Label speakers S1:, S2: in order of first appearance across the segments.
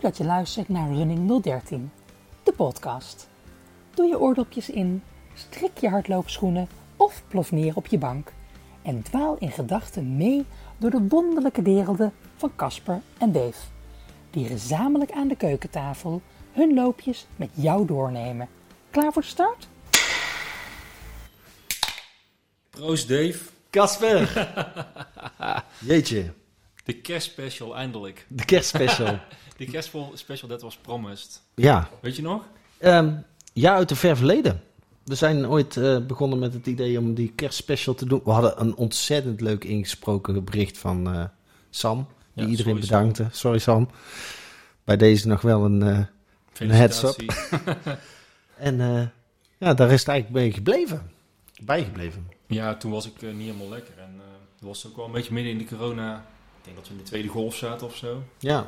S1: dat je luistert naar Running 013, de podcast. Doe je oordopjes in, strik je hardloopschoenen of plof neer op je bank en dwaal in gedachten mee door de wonderlijke werelden van Casper en Dave, die gezamenlijk aan de keukentafel hun loopjes met jou doornemen. Klaar voor de start?
S2: Proost Dave.
S3: Kasper! Jeetje,
S2: De kerstspecial eindelijk.
S3: de kerstspecial.
S2: Die kerstspecial, dat was promised.
S3: ja.
S2: Weet je nog?
S3: Ehm, ja, uit een ver verleden. We zijn ooit eh, begonnen met het idee om die kerstspecial te doen. We hadden een ontzettend leuk ingesproken bericht van eh, Sam. Die
S2: Ja,
S3: iedereen
S2: sorry, Sam.
S3: bedankte. Sorry Sam. Bij deze nog wel een... eh,
S2: Felicitatie.
S3: en eh, ja, daar is het eigenlijk mee gebleven. Bijgebleven.
S2: Ja, toen was ik eh, niet helemaal lekker. En eh, dat was ook wel een beetje midden in de corona. Ik denk dat we in de tweede golf zaten of zo.
S3: Ja.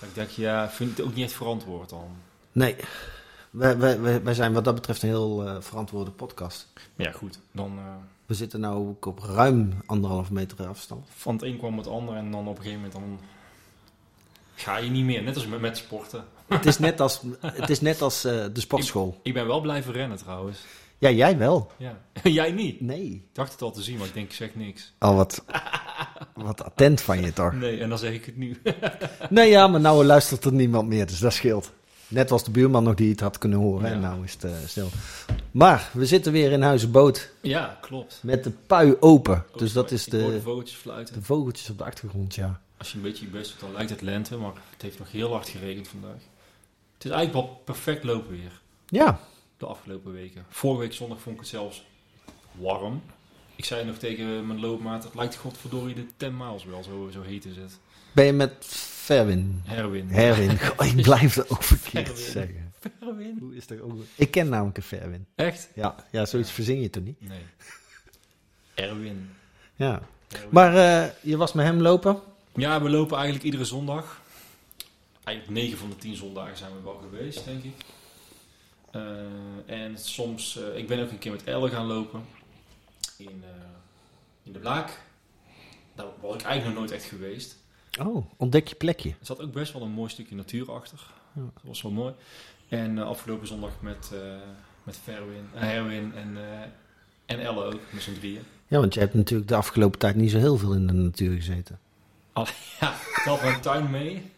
S2: Dat ik dacht, ja, vind ik het ook niet echt verantwoord dan.
S3: Nee. Wij, wij, wij- wij zijn wat dat betreft een heel eh, verantwoorde podcast.
S2: Maar ja, goed. Dan eh,
S3: We zitten nu ook op ruim anderhalf meter afstand.
S2: van het een kwam het ander. En dan op een gegeven moment dan ga je niet meer. Net als met, met sporten.
S3: Het is net als, het is net als eh, de sportschool.
S2: Ik ben wel blijven rennen trouwens.
S3: Ja, jij wel.
S2: Ja. Jij niet.
S3: Nee.
S2: Ik dacht het al te zien, maar ik denk, ik zeg niks.
S3: Al wat, wat attent van je toch?
S2: Nee, en dan zeg ik het nu.
S3: Nee, ja, maar nou luistert er niemand meer, dus dat scheelt. Net was de buurman nog die het had kunnen horen. En
S2: Ja.
S3: nou is het eh, stil. Maar we zitten weer in huis boot
S2: ja, klopt.
S3: met de pui open. Dus dat is
S2: Ik hoor de
S3: de,
S2: vogeltjes fluiten.
S3: de vogeltjes op de achtergrond, ja.
S2: Als je een beetje je best doet, dan lijkt het lente, maar het heeft nog heel hard geregend vandaag. Het is eigenlijk wel perfect lopen weer,
S3: Ja,
S2: de afgelopen weken. Vorige week zondag vond ik het zelfs warm. Ik zei nog tegen mijn loopmaat, het lijkt godverdorie de 10 miles wel, zo, zo heet is het.
S3: ben je met Verwin?
S2: Herwin.
S3: Herwin. Goh, ik blijf dat ook verkeerd
S2: Verwin.
S3: zeggen.
S2: Herwin.
S3: Hoe is dat ook? Ik ken namelijk een Verwin.
S2: Echt?
S3: Ja, ja zoiets verzin je toch niet?
S2: Nee. Erwin.
S3: Ja.
S2: Erwin.
S3: Maar eh, je was met hem lopen?
S2: Ja, we lopen eigenlijk iedere zondag. Eigenlijk 9 van de 10 zondagen zijn we wel geweest, denk ik. Eh, en soms, eh, ik ben ook een keer met Elle gaan lopen in, eh, in de Blaak. Daar was ik eigenlijk nog nooit echt geweest.
S3: Oh, ontdek je plekje.
S2: Er zat ook best wel een mooi stukje natuur achter.
S3: Ja.
S2: Dat was wel mooi. En eh, afgelopen zondag met, eh met Ferwin, eh, Herwin en, eh, en Elle ook, met z'n drieën.
S3: Ja, want je hebt natuurlijk de afgelopen tijd niet zo heel veel in de natuur gezeten.
S2: Ja, ik had mijn tuin mee.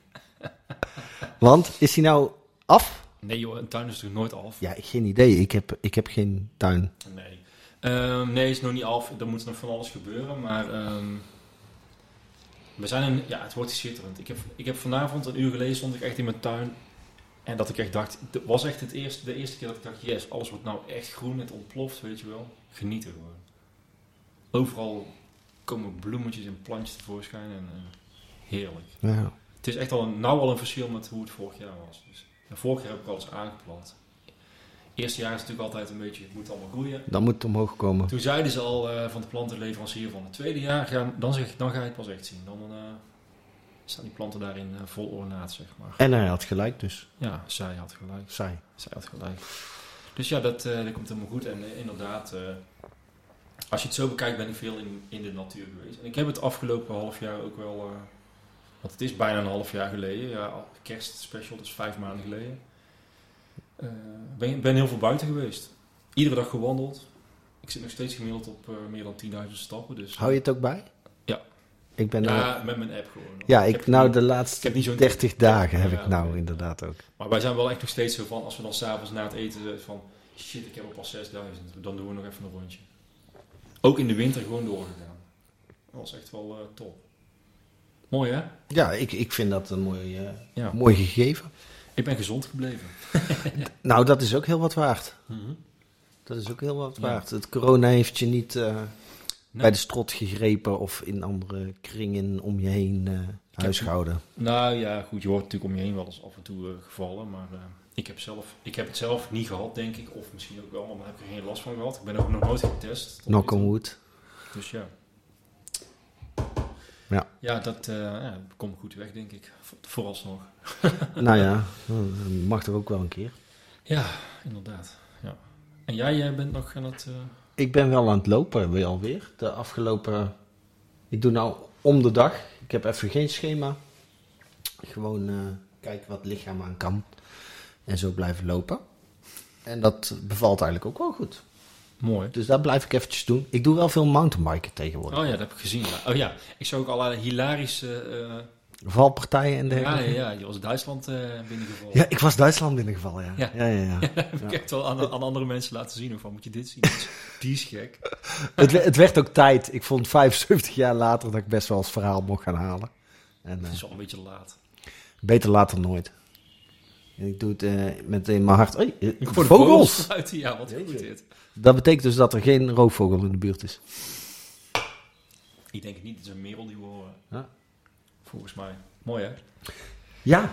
S3: Want, is die nou af?
S2: Nee joh, een tuin is natuurlijk nooit af.
S3: Ja, ik- geen idee. Ik heb, ik heb geen tuin.
S2: Nee. Ehm, nee, is nog niet af. Er moet nog van alles gebeuren. Maar ehm, we zijn een, ja, het wordt schitterend. Ik heb, ik heb vanavond een uur geleden stond ik echt in mijn tuin. En dat ik echt dacht, het was echt het eerste, de eerste keer dat ik dacht, yes, alles wordt nou echt groen. Het ontploft, weet je wel. Genieten gewoon. Overal komen bloemetjes en plantjes tevoorschijn. En eh, heerlijk.
S3: Ja.
S2: Het is echt al een, nou al een verschil met hoe het vorig jaar was. Dus, en vorig jaar heb ik alles aangeplant. Eerste jaar is natuurlijk altijd een beetje, het moet allemaal groeien.
S3: Dan moet het omhoog komen.
S2: Toen zeiden ze al eh, van de plantenleverancier van het tweede jaar, ga, dan, zeg, ik, dan ga je het pas echt zien. Dan eh, staan die planten daarin eh, vol ornaat, zeg maar.
S3: En hij had gelijk dus.
S2: Ja, zij had gelijk.
S3: Saai.
S2: Zij had gelijk. Dus ja, dat, eh, dat komt helemaal goed. En eh, inderdaad, eh, als je het zo bekijkt, ben ik veel in, in de natuur geweest. En ik heb het afgelopen half jaar ook wel, eh, want het is bijna een half jaar geleden, ja, al- kerstspecial, dus vijf maanden geleden. Eh, ben, ben heel veel buiten geweest. Iedere dag gewandeld. Ik zit nog steeds gemiddeld op eh, meer dan 10.000 stappen. Dus,
S3: Hou je het ook bij?
S2: Ja.
S3: Ik ben nou...
S2: ja, met mijn app gewoon.
S3: Ja, ik,
S2: heb
S3: nou
S2: niet-
S3: de
S2: ik
S3: laatste
S2: heb niet zo'n
S3: 30 dagen heb
S2: Ja,
S3: ik nou
S2: oké.
S3: inderdaad ook.
S2: Maar wij zijn wel echt nog steeds zo van, als we dan s'avonds na het eten zijn van, shit, ik heb er pas 6000, dan doen we nog even een rondje. Ook in de winter gewoon doorgegaan. Dat was echt wel eh, top. Mooi hè?
S3: Ja, ik, ik vind dat een mooi, eh,
S2: Ja.
S3: mooi gegeven.
S2: Ik ben gezond gebleven.
S3: Nou, dat is ook heel wat waard. Dat is ook heel wat
S2: Ja.
S3: waard. Het corona heeft je niet eh, bij
S2: Nee.
S3: de strot gegrepen of in andere kringen om je heen eh, huisgehouden.
S2: Nou ja, goed, je hoort natuurlijk om je heen wel eens af en toe eh, gevallen, maar eh, ik, heb zelf, ik heb het zelf niet gehad denk ik, of misschien ook wel, maar daar heb ik er geen last van gehad. Ik ben ook nog nooit getest. tot nu
S3: Knock
S2: toe.
S3: on wood.
S2: Dus ja.
S3: Ja.
S2: Ja, dat eh, ja, komt goed weg denk ik, Vo- vooralsnog.
S3: nou ja, dat mag er ook wel een keer.
S2: Ja, inderdaad. Ja. En jij, jij bent nog aan het... eh,
S3: Ik ben wel aan het lopen weer alweer. De afgelopen... Ik doe nou om de dag. Ik heb even geen schema. Gewoon eh, kijken wat het lichaam aan kan. En zo blijven lopen. En dat bevalt eigenlijk ook wel goed.
S2: Mooi.
S3: Dus dat blijf ik eventjes doen. Ik doe wel veel mountainbiken tegenwoordig.
S2: Oh ja, dat heb ik gezien. ja. Oh ja, ik zag ook allerlei hilarische... eh,
S3: Valpartijen en
S2: ja,
S3: dergelijke.
S2: ja, ja, je was Duitsland eh binnengevallen.
S3: Ja, ik was Duitsland in ieder geval, ja.
S2: Ja.
S3: Ja, ja, ja.
S2: heb ik echt wel aan, aan andere mensen laten zien. Hoe van, moet je dit zien? Dat is- Die is gek.
S3: het, we- het werd ook tijd. Ik vond 75 jaar later dat ik best wel als verhaal mocht gaan halen. En, eh,
S2: Het is al een beetje laat.
S3: beter later dan nooit. En ik doe het eh, meteen mijn hart. Hey, eh,
S2: Ik hoor de
S3: vogels!
S2: fluiten. Ja, wat goed
S3: Jeetje.
S2: dit.
S3: Dat betekent dus dat er geen roofvogel in de buurt is.
S2: Ik denk het niet. Het is een merel die we horen.
S3: Ja.
S2: Volgens mij. Mooi hè?
S3: Ja.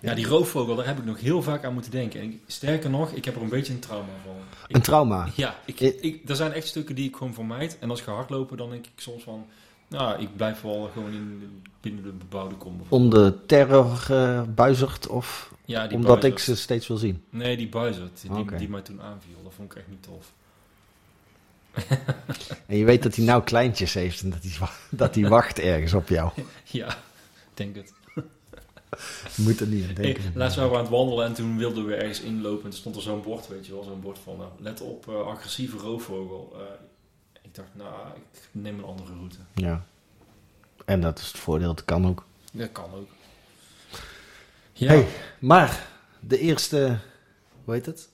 S2: Ja, die roofvogel, daar heb ik nog heel vaak aan moeten denken. En ik- sterker nog, ik heb er een beetje een trauma van.
S3: Een trauma.
S2: Ja, ik,
S3: Ik-
S2: ik, er zijn echt stukken die ik gewoon vermijd. En als ik ga hardlopen, dan denk ik soms van... Nou, ik blijf wel gewoon in, de- binnen de bebouwde kom. bijvoorbeeld.
S3: Om de terror eh, buizerd of
S2: Ja, die
S3: omdat ik
S2: buizerd.
S3: ze steeds wil zien.
S2: Nee, die buizerd, die,
S3: Oké.
S2: die mij toen aanviel. Dat vond ik echt niet tof.
S3: En je weet dat hij nou kleintjes heeft en dat hij, wa- dat hij wacht ergens op jou.
S2: Ja, ik denk het.
S3: Je moet er niet aan
S2: Hey,
S3: denken.
S2: laatst waren we aan het wandelen en toen wilden we ergens inlopen. En er stond er zo'n bord, weet je wel, zo'n bord van... nou, let op, eh, agressieve roofvogel. Eh, ik dacht, nou, ik neem een andere route.
S3: Ja. En dat is het voordeel, dat kan ook.
S2: Dat kan ook. Ja,
S3: Hey, maar de eerste, hoe heet het?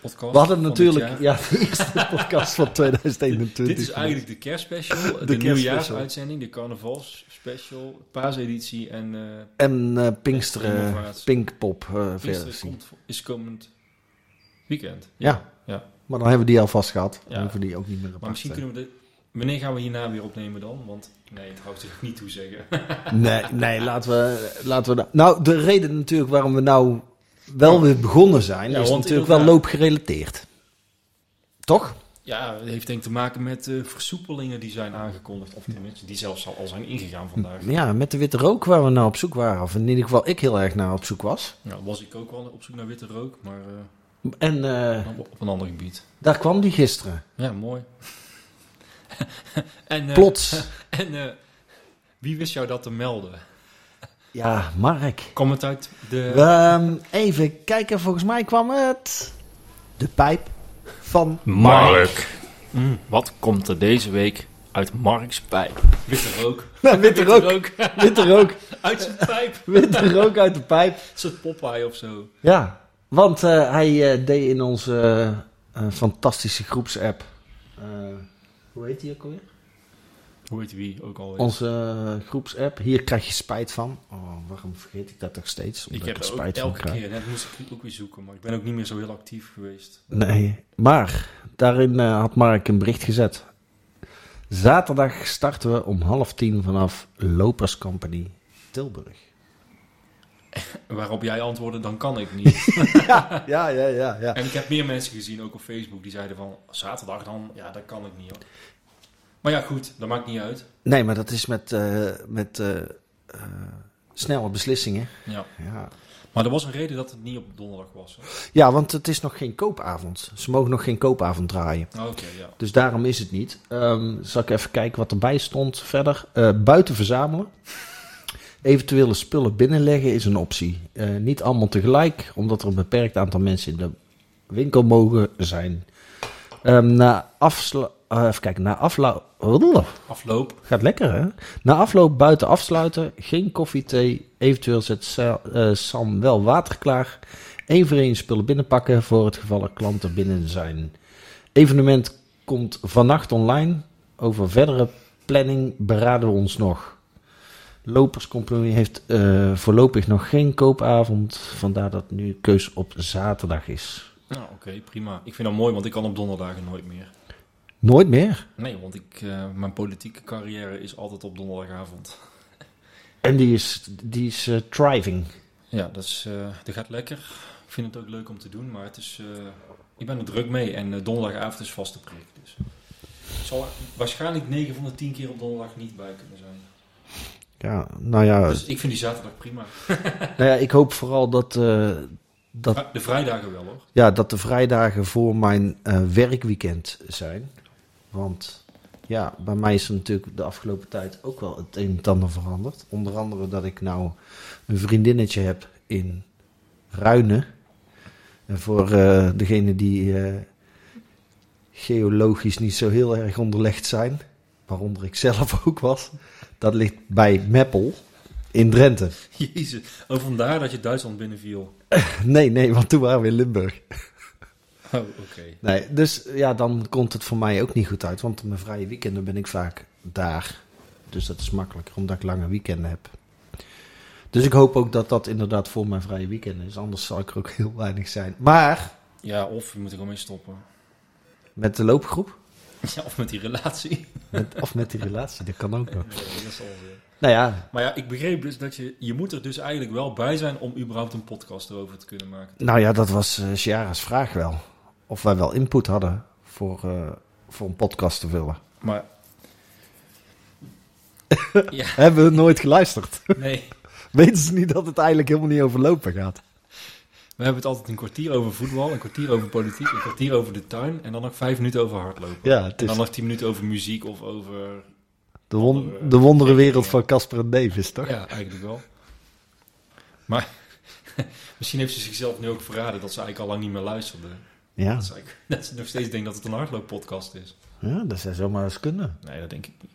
S2: podcast
S3: We hadden
S2: van
S3: natuurlijk,
S2: dit
S3: ja, de eerste podcast van
S2: jaar.
S3: 2021.
S2: Dit is eigenlijk de kerstspecial, de,
S3: kerstspecial.
S2: nieuwjaarsuitzending, de carnavalsspecial, paaseditie en eh
S3: En eh, Pinksteren,
S2: Innovatie.
S3: Pinkpop eh
S2: Pinksteren
S3: versie.
S2: komt, vo- is komend weekend.
S3: Ja.
S2: Ja.
S3: maar dan hebben we die alvast gehad.
S2: Ja.
S3: Dan hoeven we die ook niet meer
S2: Maar
S3: apart te
S2: misschien kunnen we de... Wanneer gaan we hierna weer opnemen dan? Want nee, het houdt zich niet toe zeggen.
S3: Nee, nee laten we, laten we dat- Nou, de reden natuurlijk waarom we nou wel weer begonnen zijn,
S2: Ja,
S3: is
S2: want
S3: natuurlijk wel
S2: inderdaad-
S3: loopgerelateerd. Toch?
S2: ja, het heeft denk ik te maken met eh, versoepelingen die zijn aangekondigd. Of tenminste, die zelfs al, al zijn ingegaan vandaag.
S3: Ja, met de witte rook waar we naar op zoek waren. Of in ieder geval ik heel erg naar op zoek was.
S2: Nou, was ik ook wel op zoek naar witte rook, maar eh,
S3: En eh,
S2: op, op een ander gebied.
S3: daar kwam die gisteren.
S2: Ja, mooi. en, eh,
S3: Plots.
S2: En eh, wie wist jou dat te melden?
S3: Ja, Mark.
S2: Kom het uit de...
S3: Ehm, even kijken, volgens mij kwam het... De pijp van...
S2: Mark. Mm, wat komt er deze week uit Mark's pijp? Witte rook.
S3: witte rook, witte rook,
S2: uit zijn pijp.
S3: witte rook uit de pijp.
S2: Een soort Popeye of zo.
S3: Ja, want eh, hij eh, deed in onze eh, eh, fantastische groepsapp. eh, hoe heet die ook alweer?
S2: Hoe heet wie ook alweer?
S3: Onze eh, groepsapp. Hier krijg je spijt van. Oh, waarom vergeet ik dat toch steeds?
S2: ik
S3: Omdat
S2: heb
S3: er
S2: er ook elke
S3: krijg.
S2: keer, net moest ik ook weer zoeken, maar ik ben ook niet meer zo heel actief geweest.
S3: Nee, maar daarin eh, had Mark een bericht gezet. Zaterdag starten we om half tien vanaf Lopers Company Tilburg.
S2: Waarop jij antwoordde, dan kan ik niet.
S3: ja, ja, ja, ja, ja.
S2: en ik heb meer mensen gezien, ook op Facebook, die zeiden van... Zaterdag dan? Ja, dat kan ik niet hoor. Maar ja, goed, dat maakt niet uit.
S3: Nee, maar dat is met, eh, met eh, eh, snelle beslissingen.
S2: Ja.
S3: Ja,
S2: Maar er was een reden dat het niet op donderdag was. hè?
S3: Ja, want het is nog geen koopavond. Ze mogen nog geen koopavond draaien.
S2: Ah, Oké, ja.
S3: Dus daarom is het niet. Ehm, zal ik even kijken wat erbij stond verder. Eh, buiten verzamelen. Eventuele spullen binnenleggen is een optie. Eh, niet allemaal tegelijk, omdat er een beperkt aantal mensen in de winkel mogen zijn. Ehm, na afsla- eh, even kijken, na afloop.
S2: Afloop.
S3: Gaat lekker, hè? Na afloop buiten afsluiten. Geen koffie, thee. Eventueel zet Sa- eh, Sam wel water klaar. Eén voor één spullen binnenpakken voor het geval er klanten binnen zijn. Evenement komt vannacht online. Over verdere planning beraden we ons nog. Loperscompagnie heeft eh, voorlopig nog geen koopavond. Vandaar dat nu keus op zaterdag is.
S2: Nou, oké, prima. Ik vind dat mooi, want ik kan op donderdagen nooit meer.
S3: Nooit meer.
S2: Nee, want ik, eh, mijn politieke carrière is altijd op donderdagavond.
S3: En die is, die is eh, thriving.
S2: Ja, dat, is, eh, dat gaat lekker. Ik vind het ook leuk om te doen, maar het is, eh, ik ben er druk mee. En eh, donderdagavond is vaste prik. Dus ik zal waarschijnlijk 9 van de 10 keer op donderdag niet bij kunnen zijn.
S3: Ja, nou ja.
S2: Dus ik vind die zaterdag prima.
S3: Nou ja, ik hoop vooral dat, eh, dat,
S2: Vri- De vrijdagen wel hoor.
S3: ja, dat de vrijdagen voor mijn eh, werkweekend zijn. Want Ja, bij mij is er natuurlijk de afgelopen tijd ook wel het een en het ander veranderd. Onder andere dat ik nou een vriendinnetje heb in Ruinen. En voor eh, degene die eh, geologisch niet zo heel erg onderlegd zijn, waaronder ik zelf ook was, dat ligt bij Meppel in Drenthe.
S2: Jezus. Oh, vandaar dat je Duitsland binnenviel.
S3: Nee, nee, want toen waren we in Limburg.
S2: Oh, oké.
S3: Nee, dus ja, dan komt het voor mij ook niet goed uit, want op mijn vrije weekenden ben ik vaak daar. Dus dat is makkelijker, omdat ik lange weekenden heb. Dus ik hoop ook dat dat inderdaad voor mijn vrije weekenden is, anders zal ik er ook heel weinig zijn. Maar
S2: Ja, of je moet er gewoon mee stoppen.
S3: met de loopgroep,
S2: Ja, of met die relatie.
S3: met, of met die relatie, dat kan ook nog.
S2: Nee, dat is onzin.
S3: Nou ja,
S2: Maar ja, ik begreep dus dat je... Je moet er dus eigenlijk wel bij zijn om überhaupt een podcast erover te kunnen maken.
S3: nou ja dat was eh Ciara's vraag wel. Of wij wel input hadden voor, eh, voor een podcast te vullen.
S2: Maar... ja,
S3: Hebben we nooit geluisterd.
S2: nee.
S3: Weten ze niet dat het eigenlijk helemaal niet over lopen gaat.
S2: We hebben het altijd een kwartier over voetbal, een kwartier over politiek, een kwartier over de tuin en dan nog vijf minuten over hardlopen.
S3: Ja, het
S2: En
S3: is
S2: dan nog tien minuten over muziek of over...
S3: de, won- de wondere wereld van Casper en Davis, toch?
S2: Ja, eigenlijk wel. Maar misschien heeft ze zichzelf nu ook verraden dat ze eigenlijk al lang niet meer luisterde.
S3: Ja,
S2: Dat ze, eigenlijk- dat ze nog steeds denkt dat het een hardlooppodcast is.
S3: ja dat zou zomaar eens kunnen.
S2: Nee, dat denk ik niet.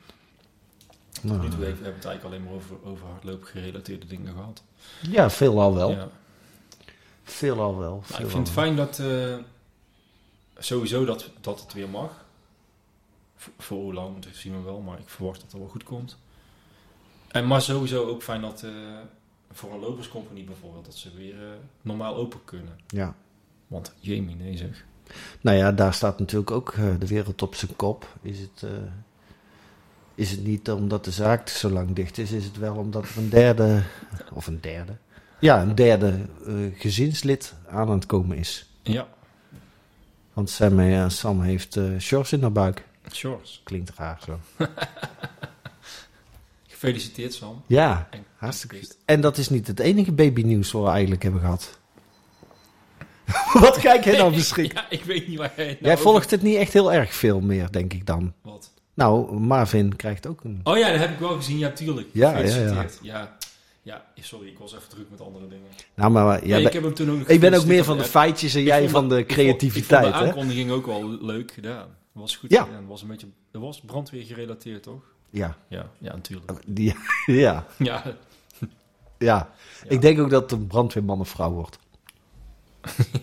S2: Tot nu
S3: Nou,
S2: toe heeft- hebben we het eigenlijk alleen maar over, over hardloop gerelateerde dingen gehad.
S3: ja, veelal wel.
S2: Ja.
S3: Veelal wel.
S2: Nou, ik
S3: veelal
S2: vind het
S3: wel.
S2: fijn dat eh, sowieso dat, dat het weer mag. V- voor hoe lang, dat zien we wel, maar ik verwacht dat het wel goed komt. En maar sowieso ook fijn dat eh, voor een loperscompagnie bijvoorbeeld, dat ze weer eh, normaal open kunnen.
S3: Ja.
S2: Want Jamie, nee zeg.
S3: Nou ja, daar staat natuurlijk ook eh, de wereld op zijn kop. Is het, eh, is het niet omdat de zaak zo lang dicht is, is het wel omdat er een derde, of een derde, ja, een derde eh, gezinslid aan aan het komen is.
S2: Ja,
S3: Want Sam, eh, Sam heeft eh shorts in haar buik.
S2: Shores.
S3: Klinkt raar zo.
S2: Gefeliciteerd Sam.
S3: Ja,
S2: En- dus-
S3: hartstikke.
S2: en-
S3: En dat is niet het enige babynieuws wat we eigenlijk hebben gehad. Wat kijk jij nou verschrikt?
S2: Ja, ik weet niet waar jij nou
S3: Jij
S2: ook-
S3: volgt het niet echt heel erg veel meer, denk ik dan.
S2: Wat?
S3: Nou, Marvin krijgt ook een...
S2: Oh ja, dat heb ik wel gezien, ja tuurlijk.
S3: Ja, ja, ja.
S2: Gefeliciteerd. ja. Ja, sorry, ik was even druk met andere dingen.
S3: Nou, maar jij
S2: Ja,
S3: bent-
S2: ik heb hem toen ook nog
S3: Ik ben ook
S2: gefeliciteerd,
S3: meer van de
S2: want-
S3: feitjes en
S2: Ik
S3: jij
S2: vond
S3: van
S2: dat-
S3: de
S2: ik vond- Ik
S3: creativiteit,
S2: vond de
S3: hè?
S2: aankondiging ook wel leuk gedaan. Was goed
S3: Ja.
S2: gedaan. Was een beetje, dat was brandweer gerelateerd, toch?
S3: Ja,
S2: Ja, ja natuurlijk.
S3: die, ja,
S2: Ja,
S3: ja.
S2: Ja.
S3: Ik denk ook dat het een brandweerman of vrouw wordt.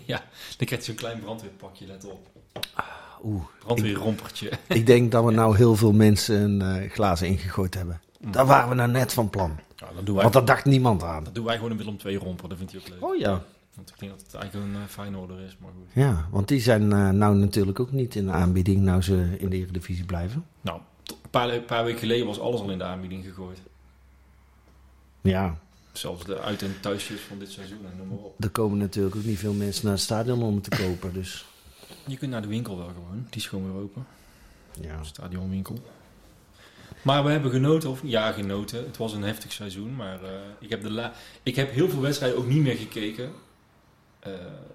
S2: ja, dan krijg je zo'n klein brandweerpakje, let op. Ah,
S3: Oeh,
S2: Brandweerrompertje.
S3: ik denk dat we nou heel veel mensen een eh, glazen ingegooid hebben.
S2: Mm.
S3: Daar waren we nou net van plan.
S2: Ja, dat, doen wij,
S3: Want daar dacht niemand aan.
S2: dat doen wij gewoon een Willem II romper, dat vindt hij ook leuk.
S3: Oh ja.
S2: Want ik denk dat het eigenlijk een eh, fijn order is, maar goed.
S3: Ja, want die zijn eh, nou natuurlijk ook niet in de aanbieding, nou ze in de Eredivisie blijven.
S2: Nou, t- een paar, een paar weken geleden was alles al in de aanbieding gegooid.
S3: Ja,
S2: Zelfs de uit- en thuisjes van dit seizoen en noem maar op.
S3: er komen natuurlijk ook niet veel mensen naar het stadion om het te kopen, dus
S2: Je kunt naar de winkel wel gewoon, die is gewoon weer open.
S3: ja.
S2: Stadionwinkel. Maar we hebben genoten, of ja, genoten. Het was een heftig seizoen, maar eh, ik, heb de la- ik heb heel veel wedstrijden ook niet meer gekeken. Eh,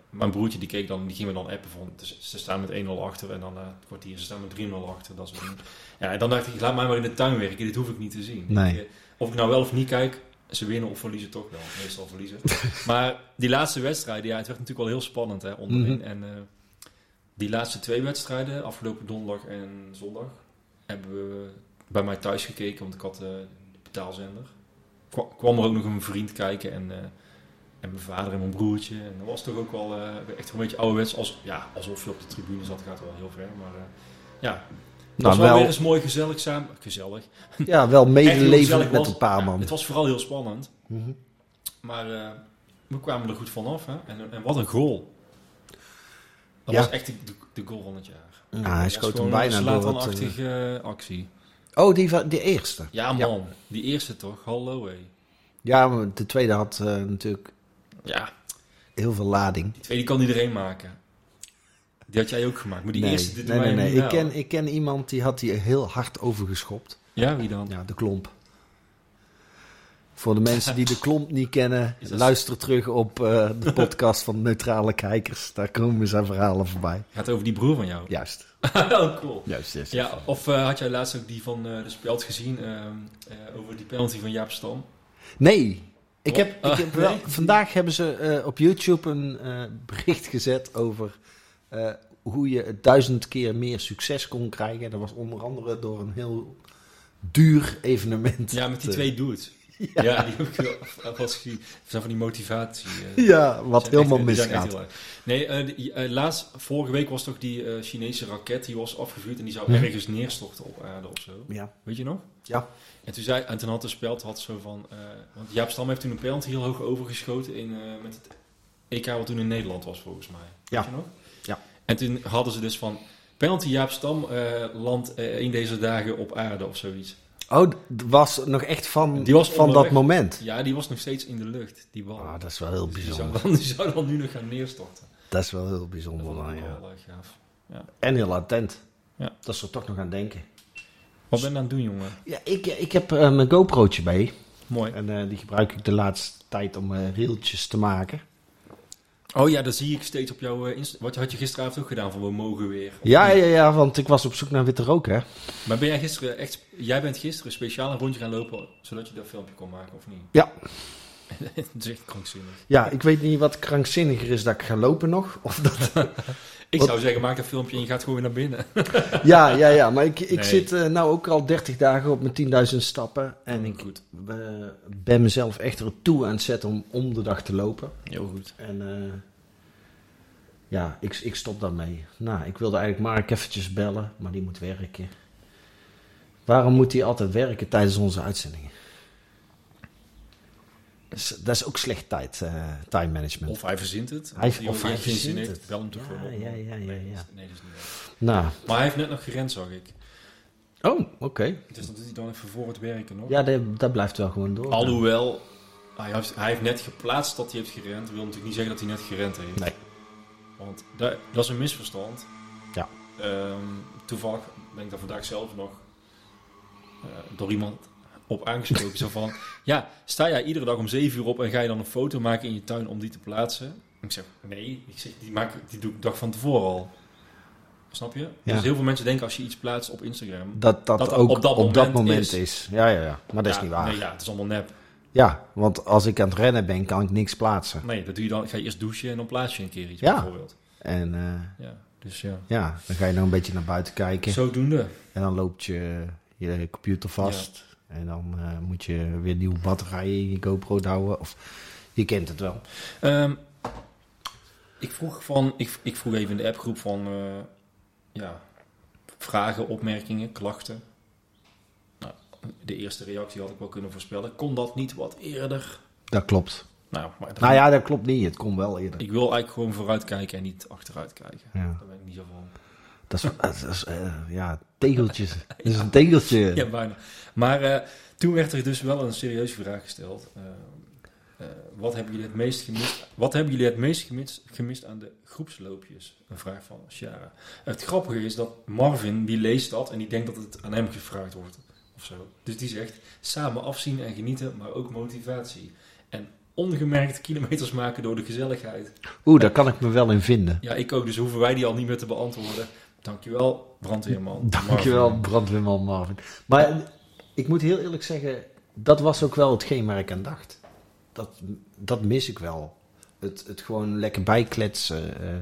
S2: mijn broertje die keek dan, die ging me dan appen van dus ze staan met 1-0 achter en dan na het kwartier ze staan met 3-0 achter. Dat soort dingen. Ja, en dan dacht ik, laat mij maar in de tuin werken, dit hoef ik niet te zien.
S3: Nee.
S2: Ik, eh, of ik nou wel of niet kijk, ze winnen of verliezen toch wel. Meestal verliezen. maar die laatste wedstrijden, ja, het werd natuurlijk wel heel spannend hè, onderin.
S3: Mhm.
S2: En eh, die laatste twee wedstrijden, afgelopen donderdag en zondag, hebben we bij mij thuis gekeken, want ik had eh, de betaalzender. Kwa- kwam er ook nog een vriend kijken en, eh, en mijn vader en mijn broertje. En dat was toch ook wel eh, echt een beetje ouderwets, als, ja, alsof je op de tribune zat, gaat wel heel ver. Maar eh, ja, het was
S3: Nou,
S2: wel, weer
S3: wel,
S2: eens mooi gezellig samen. Gezellig.
S3: ja, wel
S2: Echt heel gezellig
S3: medelevend met
S2: was-
S3: een paar
S2: ja,
S3: man.
S2: het was vooral heel spannend,
S3: Mhm.
S2: maar eh, we kwamen er goed vanaf. Hè? En, en wat een goal. Dat
S3: Ja.
S2: was echt de, de goal van het jaar.
S3: Nou, hij
S2: Dat is
S3: schoot hem
S2: gewoon
S3: bijna
S2: een
S3: door het... eh,
S2: Zlatan-achtige, eh, actie.
S3: Oh, die, va- die eerste.
S2: Ja,
S3: Ja.
S2: man. Die eerste toch? Hallo, hé.
S3: Ja, maar de tweede had eh, natuurlijk
S2: Ja,
S3: heel veel lading.
S2: die tweede kan iedereen maken. Die had jij ook gemaakt, maar die
S3: nee,
S2: eerste... dit
S3: nee,
S2: doe
S3: nee,
S2: jij
S3: nee.
S2: niet
S3: Ik,
S2: wel.
S3: ken, ik ken iemand die had die heel hard overgeschopt.
S2: Ja, wie dan?
S3: Ja, de klomp. Voor de mensen die de klomp niet kennen,
S2: Is dat-
S3: luister terug op eh, de podcast van Neutrale Kijkers. Daar komen zijn verhalen voorbij.
S2: Gaat over die broer van jou.
S3: Juist.
S2: oh, cool.
S3: Juist, juist.
S2: Ja, of eh, had jij laatst ook die van eh, de Speld gezien ehm, eh, over die penalty van Jaap Stam?
S3: Nee. Ik
S2: Oh,
S3: heb, ik
S2: ah,
S3: heb wel,
S2: nee.
S3: Vandaag hebben ze eh, op YouTube een eh, bericht gezet over eh, hoe je het duizend keer meer succes kon krijgen. En dat was onder andere door een heel duur evenement.
S2: Ja, met die
S3: te-
S2: twee dudes. Ja, die heb ik wel wel eens gezien. Dat zijn van die motivatie. eh,
S3: Ja, wat
S2: zijn echt-
S3: helemaal
S2: die zijn echt
S3: misgaat.
S2: heel erg. Nee, eh, die- eh, laatst, vorige week was toch die eh, Chinese raket die was afgevuurd en die zou
S3: Mhm.
S2: ergens neerstorten op aarde of zo.
S3: Ja.
S2: Weet je nog?
S3: Ja.
S2: En toen, zei, en toen had de speld had zo van. eh, want Jaap Stam heeft toen een penalty heel hoog overgeschoten in, eh, met het EK, wat toen in Nederland was volgens mij.
S3: Ja.
S2: Weet je nog?
S3: Ja.
S2: En toen hadden ze dus van. Penalty Jaap Stam eh landt eh, een deze dagen op aarde of zoiets.
S3: Oh, d- was nog echt van,
S2: Die was
S3: van dat
S2: onderweg.
S3: moment.
S2: Ja, die was nog steeds in de lucht, die bal.
S3: Ah, dat is wel heel
S2: Dus die, zou
S3: bijzonder.
S2: dan, die zou dan nu nog gaan neerstorten.
S3: Dat is wel heel
S2: Dat
S3: bijzonder.
S2: vond
S3: dan,
S2: ik
S3: ja.
S2: wel eh, gaaf.
S3: En heel attent.
S2: Ja.
S3: Dat ze er toch nog aan denken.
S2: Wat ben je aan het doen, jongen?
S3: Ja, ik, ik heb eh, mijn GoPro'tje bij.
S2: Mooi.
S3: En eh, die gebruik ik de laatste tijd om eh reeltjes te maken.
S2: Oh ja, dat zie ik steeds op jouw eh, Insta. Wat had je gisteravond ook gedaan van we mogen weer.
S3: Ja, ja, ja, want ik was op zoek naar witte rook, hè.
S2: Maar ben jij gisteren echt. Jij bent gisteren speciaal een rondje gaan lopen zodat je dat filmpje kon maken, of niet?
S3: Ja.
S2: dat is echt krankzinnig.
S3: Ja, ik weet niet wat krankzinniger is dat ik ga lopen nog. Of dat...
S2: Ik
S3: Wat-
S2: zou zeggen, maak dat filmpje en je gaat gewoon weer naar binnen.
S3: Ja, ja, ja, maar ik, ik
S2: Nee.
S3: zit eh, nou ook al 30 dagen op mijn 10.000 stappen. En ik
S2: Oh, goed.
S3: eh, ben mezelf echt ertoe aan het zetten om om de dag te lopen.
S2: Heel goed.
S3: En eh, ja, ik, ik stop daarmee. Nou, ik wilde eigenlijk Mark eventjes bellen, maar die moet werken. Waarom moet hij altijd werken tijdens onze uitzendingen? Dat is, dat is ook slecht tijd, eh, time management.
S2: Of hij verzint het.
S3: Hij-
S2: Die
S3: of
S2: jongen
S3: hij
S2: die geen zin
S3: verzint
S2: heeft,
S3: het.
S2: Bel hem toch
S3: Ja,
S2: gewoon op.
S3: ja, ja, ja,
S2: Nee,
S3: ja.
S2: dat is- nee, dat is niet waar.
S3: Nou,
S2: Maar hij heeft net nog gerend, zag ik.
S3: oh, oké.
S2: Dus dat doet hij dan even voor het werken, hoor.
S3: Ja, dat, dat blijft wel gewoon door.
S2: Alhoewel, hij heeft, hij heeft net geplaatst dat hij heeft gerend. wil natuurlijk niet zeggen dat hij net gerend heeft.
S3: Nee.
S2: Want da- dat is een misverstand.
S3: Ja.
S2: Ehm, toevallig ben ik daar vandaag zelf nog eh, door iemand op aangesproken. zo van, ja, sta jij iedere dag om 7 uur op en ga je dan een foto maken in je tuin om die te plaatsen? En ik zeg, nee, ik zeg, die, maak, ik- die doe ik de dag van tevoren al. Snap je?
S3: Ja.
S2: Dus heel veel mensen denken als je iets plaatst op Instagram...
S3: Dat dat,
S2: dat
S3: ook op dat moment, is. Ja, ja, ja. Maar dat is
S2: Ja,
S3: niet waar.
S2: Nee, ja, het is allemaal nep.
S3: Ja, want als ik aan het rennen ben, kan ik niks plaatsen.
S2: Nee, dat doe je dan. Ga je eerst douchen en dan plaats je een keer iets
S3: Ja.
S2: bijvoorbeeld.
S3: En eh,
S2: Ja, dus ja.
S3: ja, dan ga je nog een beetje naar buiten kijken.
S2: Zodoende.
S3: En dan loopt je, je computer vast. En dan eh, moet je weer nieuwe batterijen in je GoPro douwen. Of, je kent het wel.
S2: Ehm, ik vroeg van, ik, ik vroeg even in de appgroep van, eh, ja, vragen, opmerkingen, klachten. Nou, de eerste reactie had ik wel kunnen voorspellen. Kon dat niet wat eerder?
S3: Dat klopt.
S2: Nou, maar dat-
S3: Nou ja, dat klopt niet. Het komt wel eerder.
S2: ik wil eigenlijk gewoon vooruitkijken en niet achteruitkijken.
S3: Ja,
S2: Daar ben ik niet zo van.
S3: dat is, dat is eh, ja, tegeltjes. Dat is een tegeltje.
S2: Ja, bijna. Maar eh, toen werd er dus wel een serieuze vraag gesteld. Eh, eh, wat hebben jullie het meest gemist? Wat hebben jullie het meest gemist, gemist aan de groepsloopjes? Een vraag van Shara. Het grappige is dat Marvin die leest dat en die denkt dat het aan hem gevraagd wordt of zo. Dus die zegt samen afzien en genieten, maar ook motivatie en ongemerkt kilometers maken door de gezelligheid.
S3: Oeh, daar kan ik me wel in vinden.
S2: Ja, ik ook. Dus hoeven wij die al niet meer te beantwoorden. Dankjewel, brandweerman.
S3: Dankjewel,
S2: Marvin.
S3: brandweerman Marvin. Maar ik moet heel eerlijk zeggen, dat was ook wel hetgeen waar ik aan dacht. Dat, dat mis ik wel. Het, het gewoon lekker bijkletsen. eh,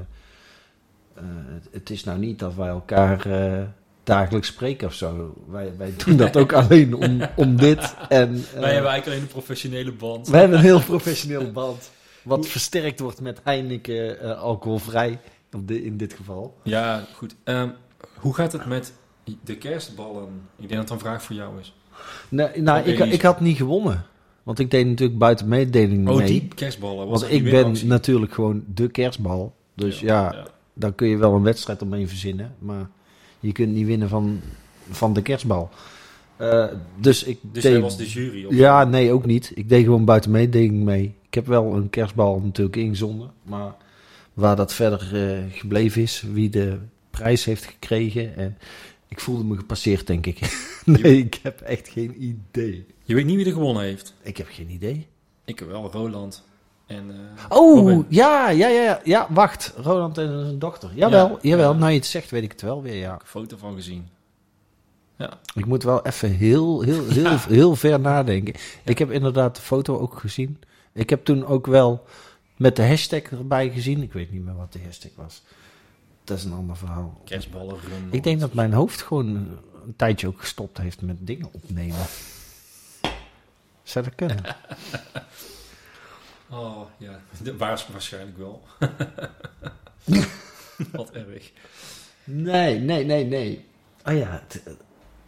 S3: eh, het, het is nou niet dat wij elkaar eh, dagelijks spreken of zo. Wij, wij doen dat ook alleen om, om dit. En, eh,
S2: Wij hebben eigenlijk alleen een professionele band.
S3: wij hebben een heel professionele band. Wat versterkt wordt met Heineken eh, alcoholvrij. Op de, in dit geval.
S2: Ja, goed. Ehm, hoe gaat het met de kerstballen? Ik denk dat het een vraag voor jou is.
S3: Nee, nou,
S2: Oké,
S3: ik,
S2: die-
S3: ik had niet gewonnen. Want ik deed natuurlijk buiten mededeling
S2: Oh,
S3: mee.
S2: die kerstballen. Was
S3: want
S2: dat
S3: ik
S2: die
S3: ben
S2: winactie?
S3: natuurlijk gewoon de kerstbal. Dus ja, dan kun je wel een wedstrijd omheen verzinnen. Maar je kunt niet winnen van, van de kerstbal. Eh, dus ik
S2: Dus
S3: deed...
S2: jij was de jury? Of?
S3: Ja, nee, ook niet. Ik deed gewoon buiten mededeling mee. Ik heb wel een kerstbal natuurlijk ingezonden. Maar waar dat verder eh, gebleven is, wie de prijs heeft gekregen. En ik voelde me gepasseerd, denk ik. nee, ik heb echt geen idee.
S2: Je weet niet wie er gewonnen heeft.
S3: Ik heb geen idee.
S2: Ik wel, Roland. En, eh,
S3: Oh,
S2: Robin.
S3: ja, ja, ja, ja, ja, wacht. Roland en zijn dochter. Jawel, jawel. Nou, je het zegt, weet ik het wel weer, ja.
S2: een foto van gezien.
S3: Ik moet wel even heel, heel, heel,
S2: Ja.
S3: heel ver nadenken. Ik heb inderdaad de foto ook gezien. Ik heb toen ook wel met de hashtag erbij gezien. Ik weet niet meer wat de hashtag was. Dat is een ander verhaal.
S2: Kerstballen, run.
S3: Ik denk dat mijn hoofd gewoon een tijdje ook gestopt heeft met dingen opnemen. Zou dat kunnen?
S2: Oh, ja. De, waars- waarschijnlijk wel. Wat erg.
S3: Nee, nee, nee, nee. Oh ja, het,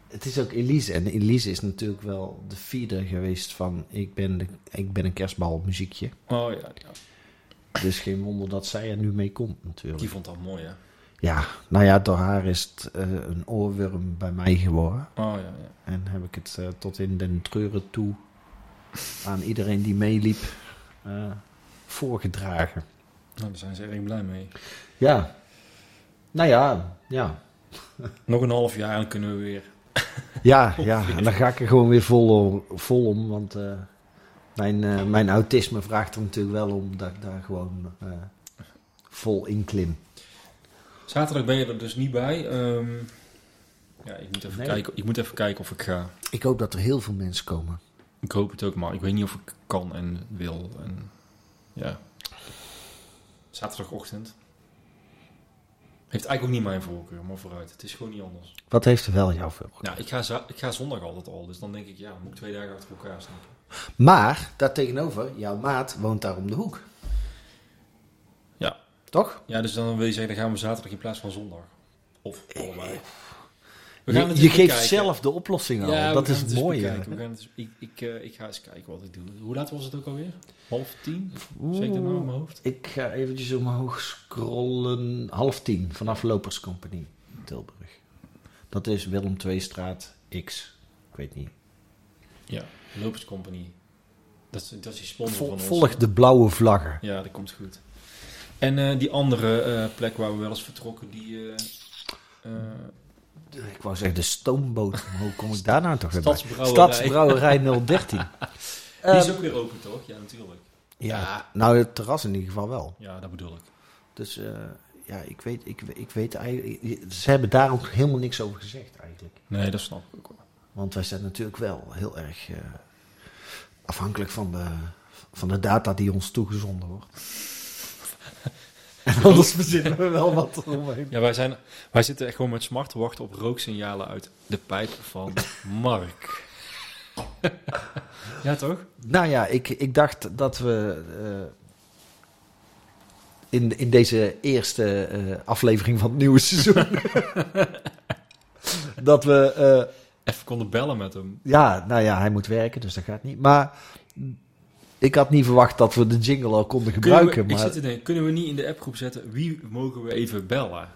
S3: het is ook Elise. En Elise is natuurlijk wel de feeder geweest van... Ik ben, de, ik ben een kerstbal muziekje.
S2: Oh ja, ja.
S3: Dus geen wonder dat zij er nu mee komt natuurlijk.
S2: Die vond dat mooi, hè?
S3: Ja, nou ja, door haar is het eh, een oorworm bij mij geworden.
S2: Oh ja, ja.
S3: En heb ik het eh, tot in den treuren toe aan iedereen die meeliep eh, voorgedragen.
S2: Nou, daar zijn ze erg blij mee.
S3: Ja. Nou ja, ja.
S2: Nog een half jaar en dan kunnen we weer.
S3: Ja, ja. En dan ga ik er gewoon weer vol, om- vol om. Want eh, mijn, eh, mijn autisme vraagt er natuurlijk wel om dat ik daar gewoon eh, vol in klim.
S2: Zaterdag ben je er dus niet bij. Ehm, ja, ik moet, even
S3: Nee.
S2: kijken, ik moet even kijken of ik ga.
S3: Ik hoop dat er heel veel mensen komen.
S2: Ik hoop het ook, maar ik weet niet of ik kan en wil. En, ja. Zaterdagochtend. Heeft eigenlijk ook niet mijn voorkeur, maar vooruit. Het is gewoon niet anders.
S3: Wat heeft er wel jouw voor?
S2: Nou, ik ga, za- ik ga zondag altijd al. Dus dan denk ik, ja, moet ik twee dagen achter elkaar staan.
S3: Maar, daartegenover, jouw maat woont daar om de hoek.
S2: Ja.
S3: Toch?
S2: Ja, dus dan wil je zeggen, dan gaan we zaterdag in plaats van zondag. Of allebei. We
S3: Je,
S2: gaan het
S3: je
S2: eens
S3: geeft
S2: bekijken.
S3: zelf de oplossing al.
S2: Ja, we
S3: Nou, dat
S2: gaan
S3: is
S2: het
S3: het
S2: eens
S3: mooie.
S2: bekijken. We gaan het eens- ik, ik, eh, ik ga eens kijken wat ik doe. Hoe laat was het ook alweer? Half tien? Zeg ik dat nou in mijn hoofd?
S3: Ik ga eventjes omhoog scrollen. Half tien, vanaf Loperscompagnie Tilburg. Dat is Willem 2 straat X. Ik weet niet.
S2: Ja, Lopers Company. Dat is, dat is die sponsor
S3: Vol-
S2: van ons.
S3: volg de blauwe vlaggen.
S2: Ja, dat komt goed. En eh, die andere eh, plek waar we wel eens vertrokken, die... eh, eh,
S3: Ik wou zeggen de stoomboot. Maar hoe kom ik daar nou toch weer bij?
S2: Stadsbrouwerij.
S3: Stadsbrouwerij 013.
S2: die
S3: Ehm,
S2: is ook weer open, toch? Ja, natuurlijk.
S3: ja, nou het terras in ieder geval wel.
S2: Ja, dat bedoel ik.
S3: Dus eh, ja, ik weet, ik, ik weet eigenlijk... Ze hebben daar ook helemaal niks over gezegd eigenlijk.
S2: Nee, dat snap ik ook wel.
S3: Want wij zijn natuurlijk wel heel erg eh, afhankelijk van de, van de data die ons toegezonden wordt. En anders verzinnen we wel wat eromheen.
S2: Ja, wij, zijn, wij zitten echt gewoon met smart te wachten op rooksignalen uit de pijp van Mark. ja, toch?
S3: Nou ja, ik, ik dacht dat we eh, in, in deze eerste eh, aflevering van het nieuwe seizoen... dat we eh,
S2: Even konden bellen met hem.
S3: Ja, nou ja, hij moet werken, dus dat gaat niet. Maar ik had niet verwacht dat we de jingle al konden gebruiken.
S2: Kunnen we, ik
S3: maar
S2: zit te denken, kunnen we niet in de appgroep zetten wie mogen we even bellen?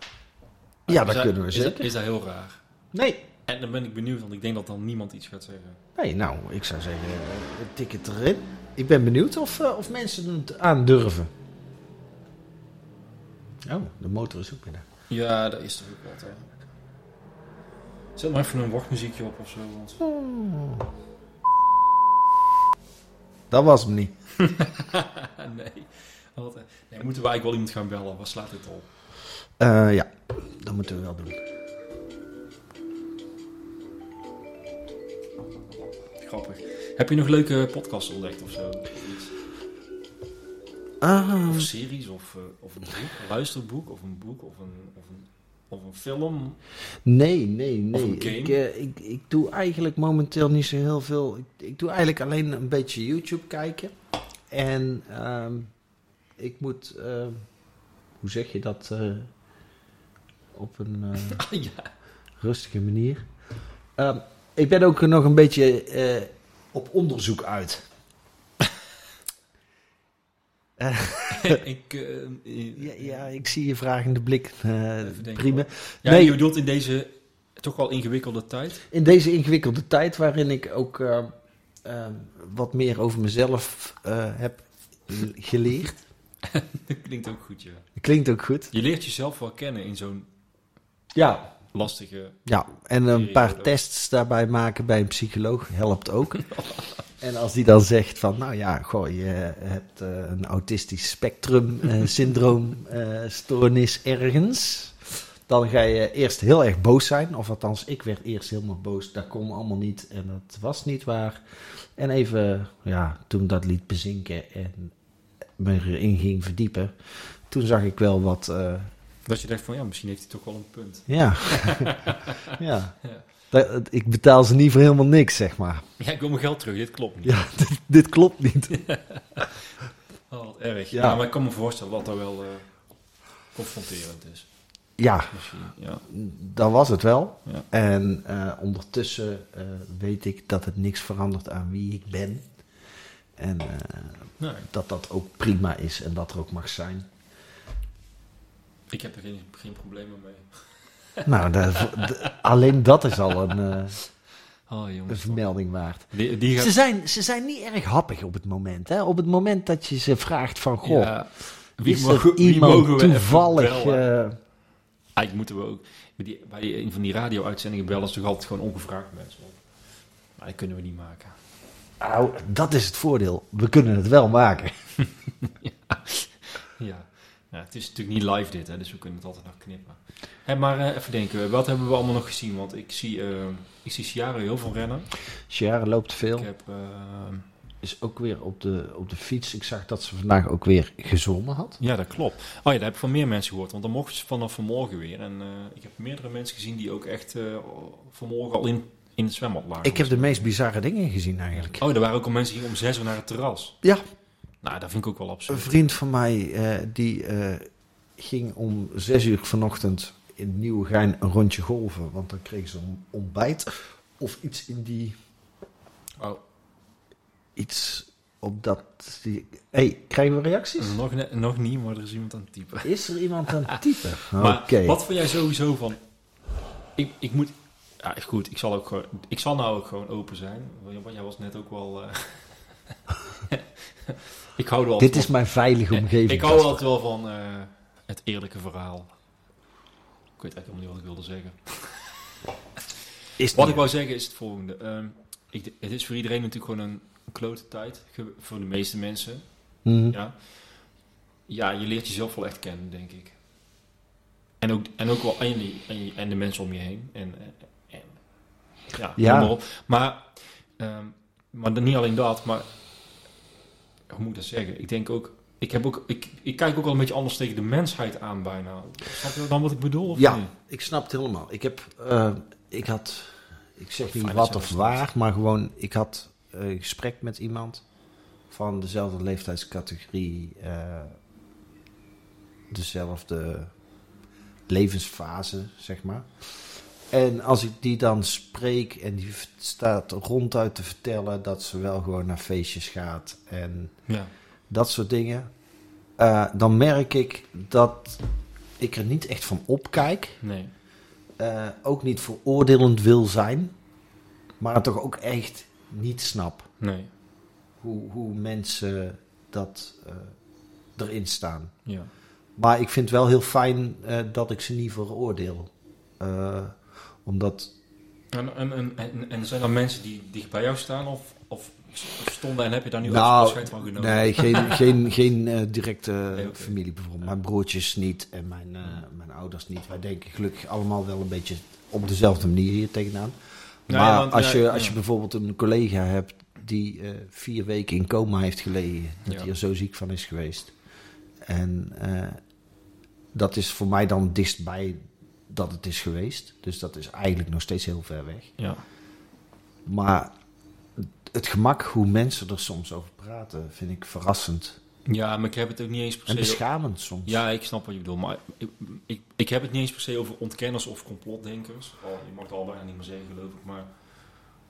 S3: ja,
S2: Is
S3: dat kunnen we
S2: is
S3: zeker.
S2: dat- Is dat heel raar?
S3: Nee.
S2: En dan ben ik benieuwd, want ik denk dat dan niemand iets gaat zeggen.
S3: nee, nou, ik zou zeggen, eh, tik het erin. Ik ben benieuwd of, eh, of mensen het aandurven. Oh, de motor is ook binnen.
S2: Ja, dat is toch ook wat, hè? Zet maar even een wachtmuziekje op of zo. Want...
S3: Dat was hem niet.
S2: nee. Wat, eh, nee, moeten we eigenlijk wel iemand gaan bellen? Wat slaat dit op?
S3: Eh, ja, dat moeten we wel doen.
S2: Grappig. Heb je nog leuke podcasts ontdekt of zo? Of iets?
S3: Ah,
S2: Of series, of, eh, of een boek, een luisterboek, of een boek, of een, of een, of een film.
S3: Nee, nee,
S2: Of
S3: nee.
S2: een game?
S3: Ik, eh, ik, ik doe eigenlijk momenteel niet zo heel veel. Ik, ik doe eigenlijk alleen een beetje YouTube kijken. En ehm, ik moet, ehm, hoe zeg je dat, eh, op een eh,
S2: Ah, ja.
S3: rustige manier. Ehm, ik ben ook nog een beetje eh, op onderzoek uit.
S2: ik, eh, eh,
S3: Ja, ja, ik zie je vragende blik. eh,
S2: Even denken,
S3: prima.
S2: ja,
S3: nee.
S2: je bedoelt in deze toch wel ingewikkelde tijd.
S3: in deze ingewikkelde tijd waarin ik ook eh, eh, wat meer over mezelf eh, heb l- geleerd.
S2: Dat klinkt ook goed, ja.
S3: Klinkt ook goed.
S2: Je leert jezelf wel kennen in zo'n
S3: Ja,
S2: lastige...
S3: Ja, en een paar
S2: Periode.
S3: tests daarbij maken bij een psycholoog helpt ook. en als die dan zegt van, nou ja, goh, je hebt eh, een autistisch spectrum eh, syndroom eh, stoornis ergens. Dan ga je eerst heel erg boos zijn. Of althans, ik werd eerst helemaal boos. Dat kon allemaal niet en dat was niet waar. En even, ja, toen ik dat liet bezinken en me erin ging verdiepen. Toen zag ik wel wat... eh,
S2: Dat je denkt van, ja, misschien heeft hij toch wel een punt.
S3: ja. ja.
S2: Ja.
S3: Dat- ik betaal ze niet voor helemaal niks, zeg maar.
S2: Ja, ik wil mijn geld terug, dit klopt niet.
S3: Ja, dit, dit klopt niet.
S2: Oh, wat erg.
S3: Ja.
S2: Ja. maar ik kan me voorstellen dat dat wel eh, confronterend is.
S3: Ja,
S2: Misschien, ja.
S3: dat was het wel.
S2: Ja.
S3: En eh, ondertussen eh, weet ik dat het niks verandert aan wie ik ben. En eh,
S2: Nee,
S3: dat dat ook prima is en dat er ook mag zijn.
S2: ik heb er geen, geen problemen mee.
S3: nou, dat- d- alleen dat is al een, eh,
S2: Oh,
S3: een
S2: jongens.
S3: vermelding waard.
S2: Die, die
S3: Ze
S2: gaat...
S3: zijn, ze zijn niet erg happig op het moment. Hè? Op het moment dat je ze vraagt van... Goh,
S2: Ja.
S3: is
S2: Wie
S3: er
S2: mogen, wie
S3: iemand
S2: mogen we even
S3: toevallig...
S2: bellen?
S3: eh,
S2: Eigenlijk moeten we ook... Bij, die, bij die- een van die radio-uitzendingen bellen ze toch altijd gewoon ongevraagd mensen op. Maar dat kunnen we niet maken.
S3: Nou, dat is het voordeel. We kunnen het wel maken.
S2: Ja. ja het is natuurlijk niet live dit, hè, dus we kunnen het altijd nog knippen. Hé, maar eh, even denken, wat hebben we allemaal nog gezien? Want ik zie, eh, ik zie Ciara heel veel rennen.
S3: Ciara loopt veel.
S2: Ik heb... eh,
S3: Is ook weer op de, op de fiets. Ik zag dat ze vandaag ook weer gezongen had.
S2: Ja, dat klopt. Oh ja, dat heb ik van meer mensen gehoord. Want dan mochten ze vanaf vanmorgen weer. En eh, ik heb meerdere mensen gezien die ook echt eh, vanmorgen al in, in het zwembad lagen.
S3: Ik heb de meest bizarre dingen gezien eigenlijk.
S2: Oh, er waren ook al mensen die om zes uur naar het terras.
S3: Ja,
S2: Nou, dat vind ik ook wel
S3: een
S2: absurd.
S3: vriend van mij eh, die eh, ging om zes uur vanochtend in Nieuwegein een rondje golven. Want dan kreeg ze een ontbijt of iets in die...
S2: Oh,
S3: Iets op dat... die- hey, krijgen we reacties?
S2: nog, ne- nog niet, maar er is iemand aan het typen.
S3: Is er iemand aan het typen?
S2: Maar
S3: Oké.
S2: wat vond jij sowieso van... Ik, ik moet... Ja, goed, ik zal, ook gewoon, ik zal nou ook gewoon open zijn. Want jij was net ook wel... eh, ik hou er wel
S3: Dit
S2: van.
S3: is mijn veilige omgeving.
S2: Eh, Ik hou altijd wel van eh, het eerlijke verhaal. Ik weet eigenlijk helemaal niet wat ik wilde zeggen.
S3: Is
S2: Wat ik
S3: niet-
S2: wou zeggen is het volgende. Ehm, ik, het is voor iedereen natuurlijk gewoon een klote tijd. ge- Voor de meeste mensen.
S3: Mhm.
S2: Ja. ja, je leert jezelf wel echt kennen, denk ik. En ook, en ook wel en, je- en, je- en de mensen om je heen. En, en, ja,
S3: Ja.
S2: noem maar op. Maar, ehm, maar dan niet alleen dat, maar hoe moet ik dat zeggen? Ik denk ook, ik, heb ook ik, ik kijk ook al een beetje anders tegen de mensheid aan bijna. Snap je dan wat ik bedoel? Of
S3: Ja,
S2: niet?
S3: ik snap het helemaal. Ik heb, eh, ik had, ik zeg niet
S2: Fijn
S3: wat
S2: dat je
S3: of
S2: dat
S3: waar, maar gewoon, ik had eh, een gesprek met iemand van dezelfde leeftijdscategorie, eh, dezelfde levensfase, zeg maar. En als ik die dan spreek en die v- staat ronduit te vertellen dat ze wel gewoon naar feestjes gaat en
S2: Ja.
S3: dat soort dingen. eh, dan merk ik dat ik er niet echt van opkijk.
S2: Nee.
S3: eh, ook niet veroordelend wil zijn. Maar het toch ook echt niet snap
S2: Nee.
S3: hoe, hoe mensen dat eh, erin staan.
S2: Ja.
S3: Maar ik vind wel heel fijn eh, dat ik ze niet veroordeel. Eh, omdat
S2: En, en, en, en, en zijn er mensen die dicht bij jou staan of, of stonden en heb je daar nu
S3: Nou,
S2: afscheid van genomen?
S3: Nee, geen, geen, geen eh, directe
S2: oké. Hmm.
S3: familie bijvoorbeeld. Mijn broertjes niet en mijn, eh, mijn ouders niet. Wij denken gelukkig allemaal wel een beetje op dezelfde manier hier tegenaan. Maar
S2: Nou ja, want,
S3: als,
S2: ja,
S3: je, als je
S2: ja.
S3: bijvoorbeeld een collega hebt die eh, vier weken in coma heeft gelegen, dat
S2: Ja.
S3: hij er zo ziek van is geweest. En eh, dat is voor mij dan dichtbij dat het is geweest. Dus dat is eigenlijk nog steeds heel ver weg.
S2: Ja.
S3: Maar het gemak hoe mensen er soms over praten, vind ik verrassend.
S2: ja, maar ik heb het ook niet eens per
S3: En
S2: se
S3: beschamend soms.
S2: Ja, ik snap wat je bedoelt, maar ik, ik, ik heb het niet eens per se over ontkenners of complotdenkers. Al, je mag het al bijna niet meer zeggen, geloof ik, maar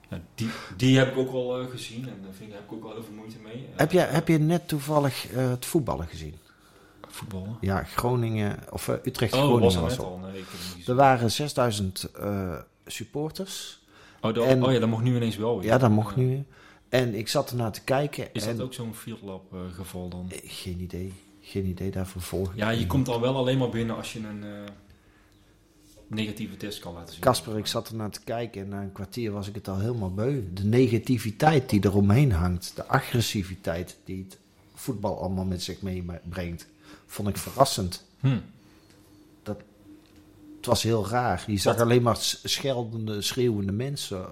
S2: ja, die, die heb ik ook al eh, gezien en daar vind ik, heb ik ook al heel veel moeite mee. Eh,
S3: Heb, je, heb je net toevallig eh, het voetballen gezien?
S2: voetballen?
S3: Ja, Groningen, of eh, Utrecht
S2: Oh,
S3: Groningen
S2: was er
S3: was
S2: net
S3: op.
S2: al? Nee, ik heb het niet
S3: Er
S2: gezien.
S3: waren 6000 eh, supporters.
S2: Oh, dat,
S3: en-
S2: oh ja, dat mocht nu ineens wel weer.
S3: Ja, dat mocht
S2: Ja.
S3: nu weer. En ik zat ernaar te kijken.
S2: Is
S3: en,
S2: dat ook zo'n field lab eh, geval dan?
S3: Eh, Geen idee. Geen idee daarvoor volgen.
S2: Ja, je komt al wel alleen maar binnen als je een... eh, negatieve test kan laten zien.
S3: Kasper, ik zat ernaar te kijken en na een kwartier was ik het al helemaal beu. De negativiteit die eromheen hangt, de agressiviteit die het voetbal allemaal met zich meebrengt, vond ik verrassend.
S2: Hm.
S3: Het was heel raar. Je zag
S2: Dat-
S3: alleen maar s- scheldende, schreeuwende mensen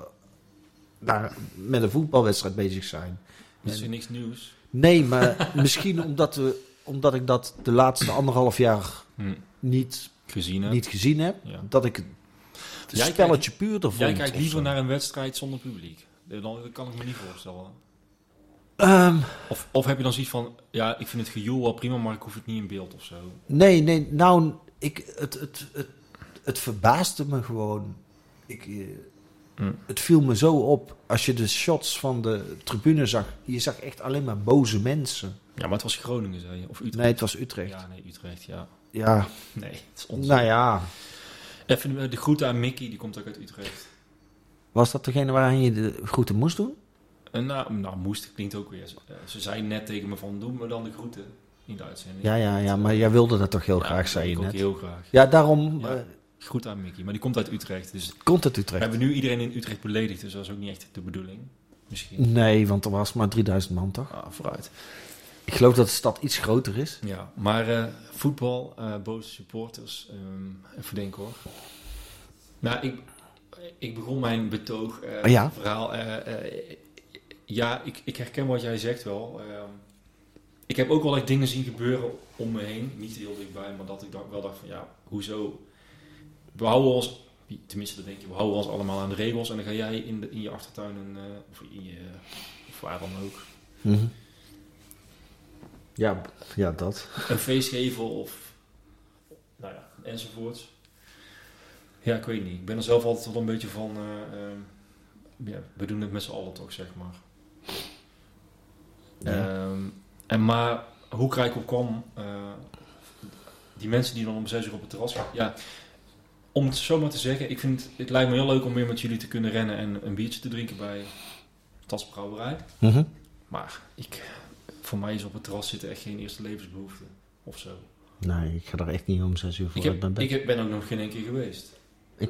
S3: daar met een voetbalwedstrijd bezig zijn.
S2: Dat is weer niks nieuws.
S3: Nee, maar misschien omdat, we, omdat ik dat de laatste anderhalf jaar
S2: Hm.
S3: niet,
S2: Gezien hè?
S3: niet gezien heb,
S2: Ja.
S3: dat ik het
S2: Jij kijkt-
S3: spelletje puurder vond.
S2: Jij kijkt
S3: of
S2: liever
S3: zo.
S2: naar een wedstrijd zonder publiek. Eh, Dan, dat kan ik me niet voorstellen.
S3: Ehm,
S2: Of, of heb je dan zoiets van, ja, ik vind het gejoel wel prima, maar ik hoef het niet in beeld of zo.
S3: Nee, nee, nou, ik, het, het, het, het verbaasde me gewoon. Ik, eh,
S2: Mm.
S3: Het viel me zo op. Als je de shots van de tribune zag, je zag echt alleen maar boze mensen.
S2: Ja, maar het was Groningen, zei je. Of Utrecht.
S3: Nee, het was Utrecht. Ja,
S2: Ja, nee, Utrecht, ja. Nee, het is onzin.
S3: nou ja.
S2: Even eh, de groeten aan Mickey, die komt ook uit Utrecht.
S3: Was dat degene waaraan je de groeten moest doen?
S2: En nou, nou, moest, klinkt ook weer. Ze, eh, ze zei net tegen me van, doe me dan de groeten in de uitzending.
S3: Ja, ja, ja, maar jij wilde dat toch heel
S2: Ja,
S3: graag, zei
S2: ik
S3: je
S2: ook
S3: net.
S2: heel graag.
S3: Ja, daarom
S2: Ja.
S3: eh,
S2: Groet aan Mickey, maar die komt uit Utrecht. Dus
S3: komt het
S2: we
S3: Utrecht.
S2: hebben nu iedereen in Utrecht beledigd, dus dat is ook niet echt de bedoeling. Misschien.
S3: Nee, want er was maar 3000 man, toch?
S2: Ah, vooruit.
S3: Ik geloof dat de stad iets groter is.
S2: Ja, maar eh, voetbal, eh, boze supporters, ehm, even denken hoor. Nou, ik, ik begon mijn betoog, eh,
S3: Oh ja.
S2: verhaal. eh, eh, ja, ik, ik herken wat jij zegt wel. Ehm, ik heb ook wel echt dingen zien gebeuren om me heen. Niet heel dichtbij, maar dat ik dan wel dacht van ja, hoezo? We houden ons, tenminste dat denk je, we houden ons allemaal aan de regels. En dan ga jij in, de, in je achtertuin, een, eh, of in je, eh, of waar dan ook,
S3: Mhm. Ja, ja, dat.
S2: een feest geven of nou ja, enzovoorts. Ja, ik weet niet. Ik ben er zelf altijd wel een beetje van, eh, ehm, ja, we doen het met z'n allen toch, zeg maar.
S3: Ja.
S2: Ehm, en maar hoe krijg ik op kwam, eh, die mensen die dan om zes uur op het terras gaan, ja, om het zo maar te zeggen, ik vind, het lijkt me heel leuk om weer met jullie te kunnen rennen en een biertje te drinken bij Tas Brouwerij.
S3: Mhm.
S2: Maar ik, voor mij is op het terras zitten echt geen eerste levensbehoefte of zo.
S3: Nee, ik ga er echt niet om zes uur voor
S2: Ik,
S3: uit
S2: heb,
S3: mijn bed. Ik,
S2: ik heb- ben ook nog geen enkele keer geweest.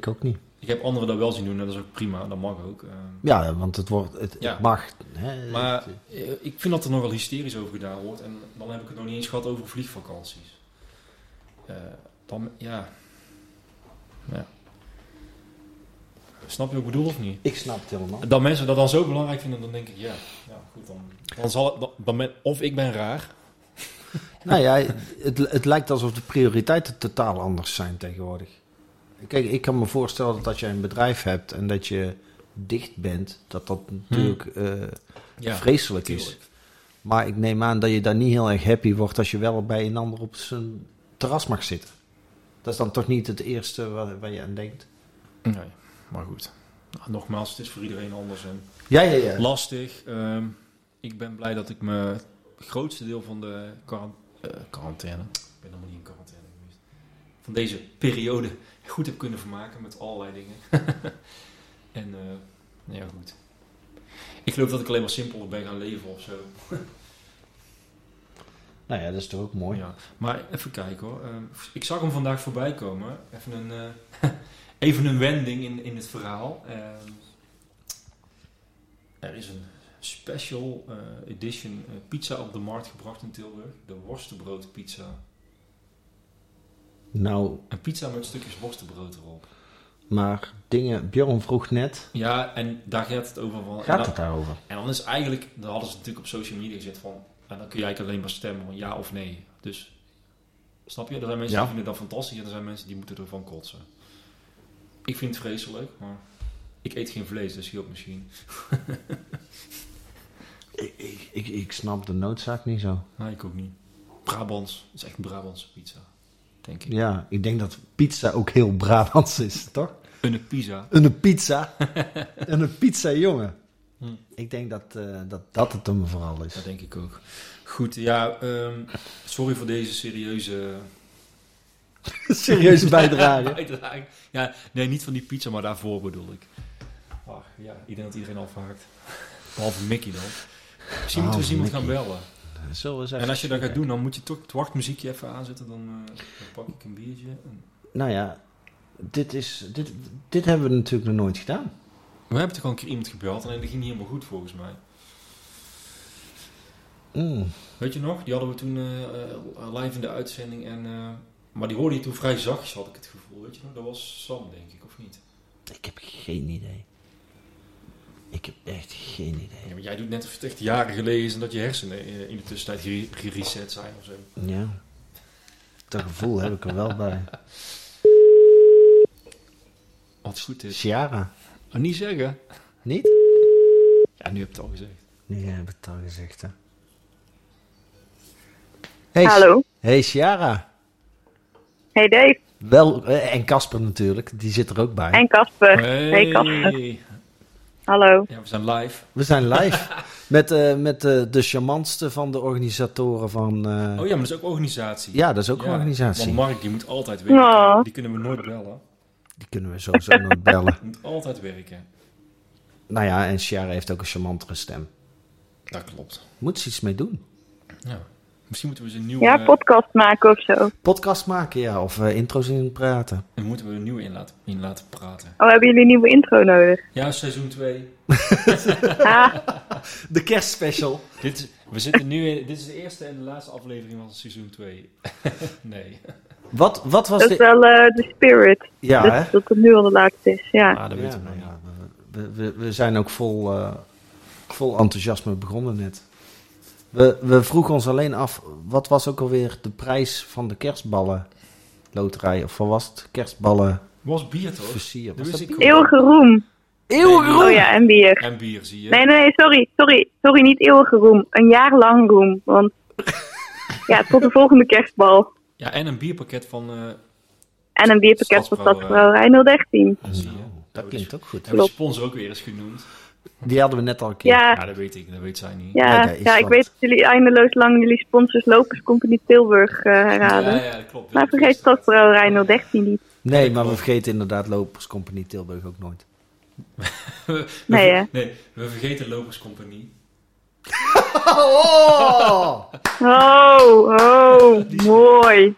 S3: ook niet.
S2: Ik heb anderen dat wel zien doen en dat is ook prima, dat mag ook. eh.
S3: Ja, want het, wordt, het, het
S2: Ja.
S3: mag. Hè,
S2: maar
S3: het-
S2: eh, ik vind dat er nogal hysterisch over gedaan wordt en dan heb ik het nog niet eens gehad over vliegvakanties. Eh, dan, ja. ja. Snap je wat ik bedoel of niet?
S3: ik snap het helemaal.
S2: Dat mensen dat dan zo belangrijk vinden, dan denk ik, ja, ja goed dan. dan zal het, dan, dan ben- of ik ben raar.
S3: nou ja, het, het lijkt alsof de prioriteiten totaal anders zijn tegenwoordig. Kijk, ik kan me voorstellen dat als jij een bedrijf hebt en dat je dicht bent, dat dat natuurlijk eh, vreselijk is.
S2: tuurlijk.
S3: Maar ik neem aan dat je daar niet heel erg happy wordt als je wel bij een ander op zijn terras mag zitten. Dat is dan toch niet het eerste waar, waar je aan denkt.
S2: Nee, maar goed. Nou, nogmaals, het is voor iedereen anders en
S3: Ja, ja, ja.
S2: lastig. Ehm, ik ben blij dat ik me het grootste deel van de quaran- eh, quarantaine, ik ben helemaal niet in quarantaine geweest, van deze periode goed heb kunnen vermaken met allerlei dingen. en eh, nou ja, goed. Ik geloof dat ik alleen maar simpeler ben gaan leven of zo.
S3: Nou ja, dat is toch ook mooi.
S2: Ja. Maar even kijken hoor. Ehm, ik zag hem vandaag voorbij komen. Even een, eh, even een wending in, in het verhaal. Ehm, er is een special eh, edition eh, pizza op de markt gebracht in Tilburg. De worstenbroodpizza.
S3: Nou,
S2: Een pizza met stukjes worstenbrood erop.
S3: maar dingen, Bjorn vroeg net,
S2: Ja, en daar gaat het over. Van, en,
S3: gaat
S2: dan,
S3: het daarover?
S2: en dan is eigenlijk, dan hadden ze natuurlijk op social media gezet van, en dan kun je eigenlijk alleen maar stemmen van ja of nee. Dus, snap je? Er zijn mensen
S3: Ja.
S2: die vinden dat fantastisch en er zijn mensen die moeten ervan kotsen. Ik vind het vreselijk, maar ik eet geen vlees, dus hielp misschien.
S3: Ik, ik, ik, ik snap de noodzaak niet zo.
S2: Nee, ik ook niet. Brabants, het is echt een Brabantse pizza, denk ik.
S3: Ja, ik denk dat pizza ook heel Brabants is, toch?
S2: Een pizza.
S3: Een pizza. een pizza, jongen.
S2: Hm.
S3: Ik denk dat, eh, dat dat het hem vooral is.
S2: Dat denk ik ook. Goed, ja, ehm, sorry voor deze serieuze
S3: Serieuze bijdrage.
S2: Bijdrage. Ja, nee, niet van die pizza, maar daarvoor bedoel ik. Ach, ja, ik denk dat iedereen al vaakt. Behalve Mickey dan. Misschien moeten we eens
S3: Behalve
S2: iemand gaan
S3: Mickey.
S2: bellen.
S3: Zullen we
S2: En
S3: zeggen-
S2: als je dat gaat doen, dan moet je toch het wachtmuziekje even aanzetten. Dan, eh, dan pak ik een biertje. En
S3: Nou ja, Dit, is, dit, dit hebben we natuurlijk nog nooit gedaan.
S2: We hebben toch al een keer iemand gebeld en dat ging niet helemaal goed volgens mij.
S3: Mm.
S2: Weet je nog? Die hadden we toen eh, eh, live in de uitzending. En, eh, maar die hoorde je toen vrij zachtjes, had ik het gevoel. Weet je nog? Dat was Sam, denk ik, of niet?
S3: Ik heb geen idee. Ik heb echt geen idee.
S2: Ja, maar jij doet net of het echt jaren geleden is en dat je hersenen eh, in de tussentijd gere- gereset zijn of zo.
S3: Ja. Dat gevoel heb ik er wel bij.
S2: Wat goed is.
S3: Ciara,
S2: Oh, niet zeggen.
S3: niet?
S2: Ja, nu heb je het al gezegd.
S3: Nu heb ik het al gezegd, hè. Hey,
S4: Hallo.
S3: Hey, Ciara.
S4: Hey Dave
S3: Wel, eh, en Casper natuurlijk, die zit er ook bij.
S4: en Casper.
S2: Hey.
S4: Hey Casper. Hallo.
S2: Ja, we zijn live.
S3: We zijn live met, eh, met eh, de charmantste van de organisatoren van... eh,
S2: Oh ja, maar dat is ook organisatie.
S3: Ja, dat is ook
S2: Ja,
S3: een organisatie.
S2: Want Mark, die moet altijd werken.
S4: Ja.
S2: Die kunnen we nooit bellen.
S3: Die kunnen we sowieso nog bellen.
S2: Die moet altijd werken.
S3: Nou ja, en Ciara heeft ook een charmantere stem.
S2: Dat klopt.
S3: Moet ze iets mee doen.
S2: Ja. Misschien moeten we eens een nieuwe,
S4: Ja, podcast maken of zo.
S3: Podcast maken, ja, of eh, intro's in praten.
S2: eh, moeten we een nieuwe in laten, in laten praten.
S4: Oh, hebben jullie een nieuwe intro nodig?
S2: Ja, seizoen 2.
S4: Ah,
S3: De kerstspecial.
S2: Dit, we zitten nu in, dit is de eerste en de laatste aflevering van seizoen 2. nee.
S3: Wat, wat was
S4: dat is
S3: de...
S4: wel eh, de spirit.
S3: Ja,
S4: dat,
S3: hè?
S4: dat het nu al de laatste is, ja.
S2: Ah, dat
S3: Ja,
S2: weten we
S3: nou
S2: nog niet.
S3: ja, we, we, we zijn ook vol, eh, vol enthousiasme begonnen net. We, we vroegen ons alleen af, wat was ook alweer de prijs van de kerstballen loterij? Of wat was het? Kerstballen
S2: Was bier toch?
S3: versier.
S2: Dat
S3: Was
S2: wist
S3: dat
S2: ik
S3: bier?
S4: Eeuwige roem.
S2: Eeuwige
S4: Oh ja, en bier.
S2: En bier, zie je.
S4: Nee, nee, nee, sorry, sorry, sorry, niet eeuwige roem. Een jaar lang roem, want... Ja, tot de volgende kerstbal.
S2: Ja, en een bierpakket van... eh,
S4: En een bierpakket van
S2: Stadsbrouwerij.
S4: Stadsbrouwerij 013.
S2: zie je.
S3: Oh, dat klinkt ook goed.
S2: Hebben we de sponsor ook weer eens genoemd?
S3: Die hadden we net al een keer.
S4: Ja.
S2: Ja, dat weet ik. Dat weet zij niet.
S4: Ja,
S3: Oké,
S4: ja, ik
S3: Island.
S4: weet dat jullie eindeloos lang jullie sponsors dus Lopers Company Tilburg eh, herhalen.
S2: ja, ja, dat klopt.
S4: Maar vergeet Stadsbrouwerij 013 niet.
S3: Nee, maar we vergeten inderdaad Lopers Compagnie Tilburg ook nooit.
S2: We- we-
S4: Nee, hè?
S2: nee, we vergeten Lopers Compagnie.
S3: Oh!
S4: Oh, oh, mooi,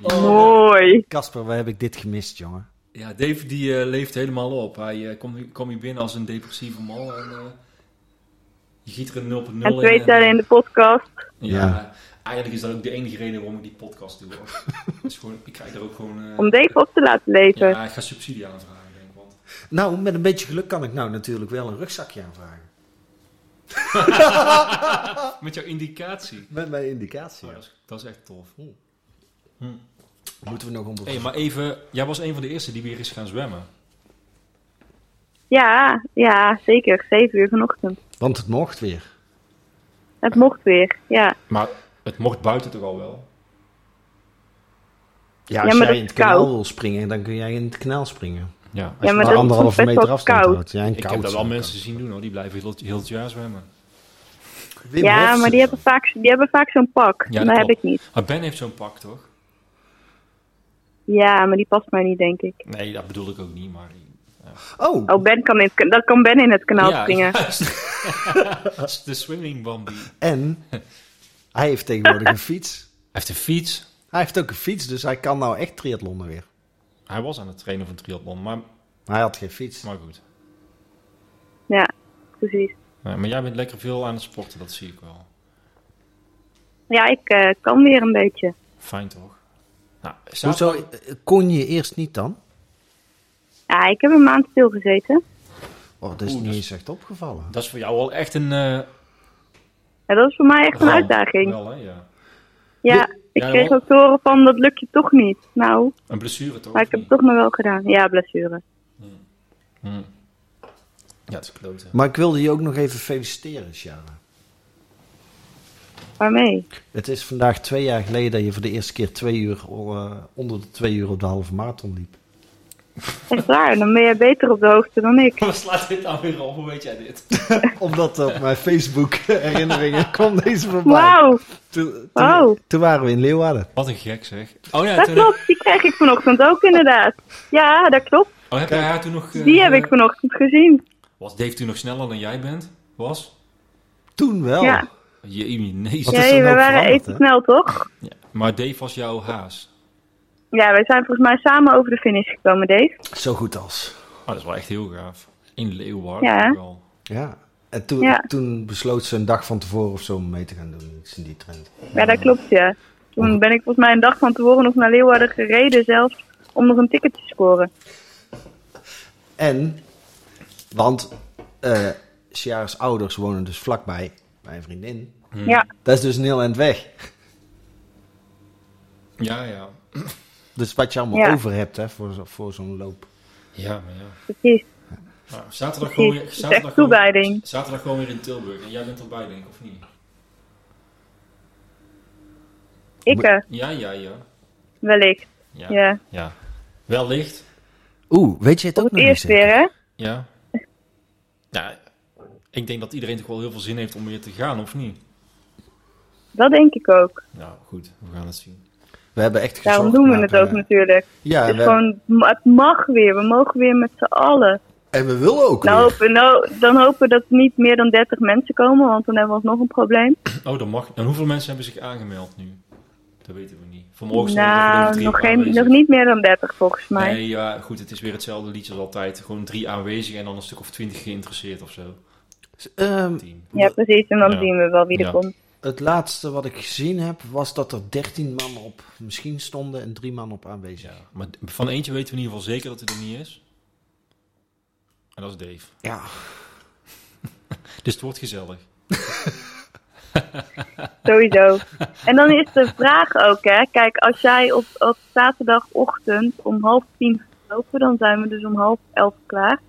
S4: mooi.
S3: Kasper, waar heb ik dit gemist, jongen?
S2: Ja, Dave die eh, leeft helemaal op. Hij eh, komt nu- kwam hier binnen als een depressieve mal en eh, je giet er een 0.0 in.
S4: En twee
S2: en-
S4: tellen in de podcast.
S2: ja,
S3: Ja.
S2: eigenlijk is dat ook de enige reden waarom ik die podcast doe. hoor. Dus gewoon, ik krijg er ook gewoon... eh,
S4: Om Dave op te laten leven.
S2: ja, ik ga subsidie aanvragen, denk ik. Want
S3: Nou, met een beetje geluk kan ik nou natuurlijk wel een rugzakje aanvragen.
S2: Ah, met jouw indicatie.
S3: Met mijn indicatie.
S2: Oh, dat, is, dat is echt tof.
S3: Hm. Moeten we nog onder...
S2: Hé, maar even... Jij was een van de eerste die weer is gaan zwemmen.
S4: Ja, ja, zeker. Zeven uur vanochtend.
S3: Want het mocht weer.
S4: Het mocht weer, ja.
S2: Maar het mocht buiten toch al wel?
S3: Ja,
S4: Ja,
S3: als jij
S4: maar dat
S3: in het
S4: is koud.
S3: kanaal wil springen, dan kun jij in het kanaal springen.
S2: Ja.
S4: Ja,
S3: Waar
S4: maar dat is soms
S3: anderhalve
S4: best
S3: meter
S4: wel
S3: afstand
S4: koud.
S3: houdt. Ja, en
S2: ik
S3: koud
S2: heb dat
S3: is
S2: wel
S3: ook
S2: mensen zien doen hoor. Die blijven heel, heel het jaar zwemmen.
S3: koud. Wim
S4: Ja,
S3: Hofstede.
S4: maar die hebben vaak, die hebben vaak zo'n pak.
S2: Ja, dat
S4: dat heb
S2: klopt.
S4: ik niet.
S2: Maar Ben heeft zo'n pak toch?
S4: Ja, maar die past mij niet, denk ik.
S2: Nee, dat bedoel ik ook niet, maar...
S3: Oh,
S4: Oh, Ben kan in het, kan- dat kan Ben in het kanaal
S2: Ja,
S4: springen.
S2: juist. de swimming Bambi. Hij
S3: en hij heeft tegenwoordig een fiets.
S2: heeft een fiets.
S3: Hij heeft ook een fiets, dus hij kan nou echt triathlonnen weer.
S2: Hij was aan het trainen van triathlon, maar,
S3: Maar hij had geen fiets.
S2: maar goed.
S4: Ja, precies.
S2: Ja, maar jij bent lekker veel aan het sporten, dat zie ik wel.
S4: Ja, ik eh, kan weer een beetje.
S2: Fijn toch? Nou, zaterdag-
S3: Hoezo eh, kon je eerst niet dan?
S4: Ja, ik heb een maand stilgezeten.
S3: Oh, dat is
S2: Oeh,
S3: niet
S2: dat
S3: eens echt opgevallen.
S2: Dat is voor jou wel echt een... eh,
S4: Ja, dat is voor mij echt een
S2: ramp.
S4: uitdaging.
S2: Wel, hè, ja.
S4: Ja, ik
S2: Oh. ja,
S4: kreeg
S2: wel.
S4: ook te horen van dat lukt je toch niet. Nou,
S2: Een blessure toch?
S4: maar ik
S2: of
S4: heb
S2: niet?
S4: het toch nog wel gedaan. Ja, blessure.
S2: Hm. Ja, het is kloten.
S3: Maar ik wilde je ook nog even feliciteren, Sjara.
S4: Waarmee?
S3: Het is vandaag twee jaar geleden dat je voor de eerste keer twee uur, eh, onder de twee uur op de halve marathon liep.
S4: Echt waar, dan ben jij beter op de hoogte dan ik.
S2: Wat slaat dit dan weer op? Hoe weet jij dit?
S3: Omdat op mijn Facebook herinneringen kwam deze voorbij.
S4: Wauw,
S3: Toen, toen,
S4: Wauw.
S3: toen waren we in Leeuwarden.
S2: Wat een gek zeg. Oh ja,
S4: dat
S2: toen heb,
S4: klopt. Die kreeg ik vanochtend ook inderdaad. Ja, dat klopt.
S2: oh, heb jij haar toen nog... eh,
S4: Die heb ik vanochtend gezien.
S2: Was Dave toen nog sneller dan jij bent? Was?
S3: Toen wel.
S4: Ja.
S2: Je, nee,
S3: Wat
S4: Ja,
S3: Oh, is er
S4: we
S3: nou
S4: waren
S3: veranderd,
S4: even
S3: hè?
S4: snel, toch?
S2: Ja, Maar Dave was jouw haas.
S4: Ja, wij zijn volgens mij samen over de finish gekomen, Dave.
S3: Zo goed als.
S2: Oh, dat is wel echt heel gaaf. In Leeuwarden
S4: Ja, hè?
S2: wel.
S3: Ja. En toen,
S4: Ja.
S3: toen besloot ze een dag van tevoren of zo om mee te gaan doen. Iets in die trend.
S4: Ja, dat klopt, ja. Toen ben ik volgens mij een dag van tevoren nog naar Leeuwarden gereden zelfs om nog een ticket te scoren.
S3: En, want eh Ciara's ouders wonen dus vlakbij mijn vriendin.
S4: Ja,
S3: Dat is dus een heel eind weg.
S2: Ja, ja.
S3: Dus wat je allemaal
S4: Ja.
S3: over hebt hè, voor, zo- voor zo'n loop.
S2: Ja, maar ja.
S4: precies.
S2: Nou, zaterdag, gewoon
S4: precies.
S2: weer,
S4: Het is
S2: zaterdag,
S4: echt
S2: gewoon,
S4: toewijding.
S2: zaterdag gewoon weer in Tilburg. En jij bent erbij, denk ik, of niet?
S4: Ik eh,
S2: Ja, ja, ja.
S4: wellicht,
S2: Ja.
S4: ja.
S2: ja. Wel licht.
S3: Oeh, weet je het
S4: Voor
S3: ook
S4: het
S3: nog niet
S4: eerst
S3: zeker?
S4: weer, hè?
S2: Ja. Nou, ik denk dat iedereen toch wel heel veel zin heeft om weer te gaan, of niet?
S4: Dat denk ik ook.
S2: Nou, goed. We gaan het zien.
S3: We hebben echt gezorgd.
S4: Daarom doen we
S3: naar,
S4: het ook
S3: eh,
S4: natuurlijk.
S3: Ja,
S4: Het,
S3: we-
S4: is gewoon, het mag weer. We mogen weer met z'n allen.
S3: en we willen ook
S4: Nou,
S3: weer.
S4: hopen, nou, dan hopen we dat er niet meer dan 30 mensen komen, want dan hebben we nog een probleem.
S2: Oh, dat mag. En hoeveel mensen hebben zich aangemeld nu? Dat weten we niet. Vanmorgen stonden er geloof ik
S4: nou,
S2: drie
S4: nog, geen,
S2: aanwezig.
S4: nog niet meer dan 30 volgens mij.
S2: Nee, ja, goed. Het is weer hetzelfde liedje als altijd. Gewoon drie aanwezig en dan een stuk of twintig geïnteresseerd of zo.
S3: Ehm,
S2: Tien.
S4: Ja, precies. En dan
S2: Ja.
S4: zien we wel wie er
S2: Ja.
S4: komt.
S3: het laatste wat ik gezien heb, was dat er 13 man op misschien stonden en 3 man op aanwezig.
S2: Ja, maar van eentje weten we in ieder geval zeker dat hij er niet is. En dat is Dave.
S3: Ja,
S2: Dus het wordt gezellig.
S4: Sowieso. En dan is de vraag ook, hè. Kijk, als jij op, op zaterdagochtend om half tien gaat lopen, dan zijn we dus om half elf klaar.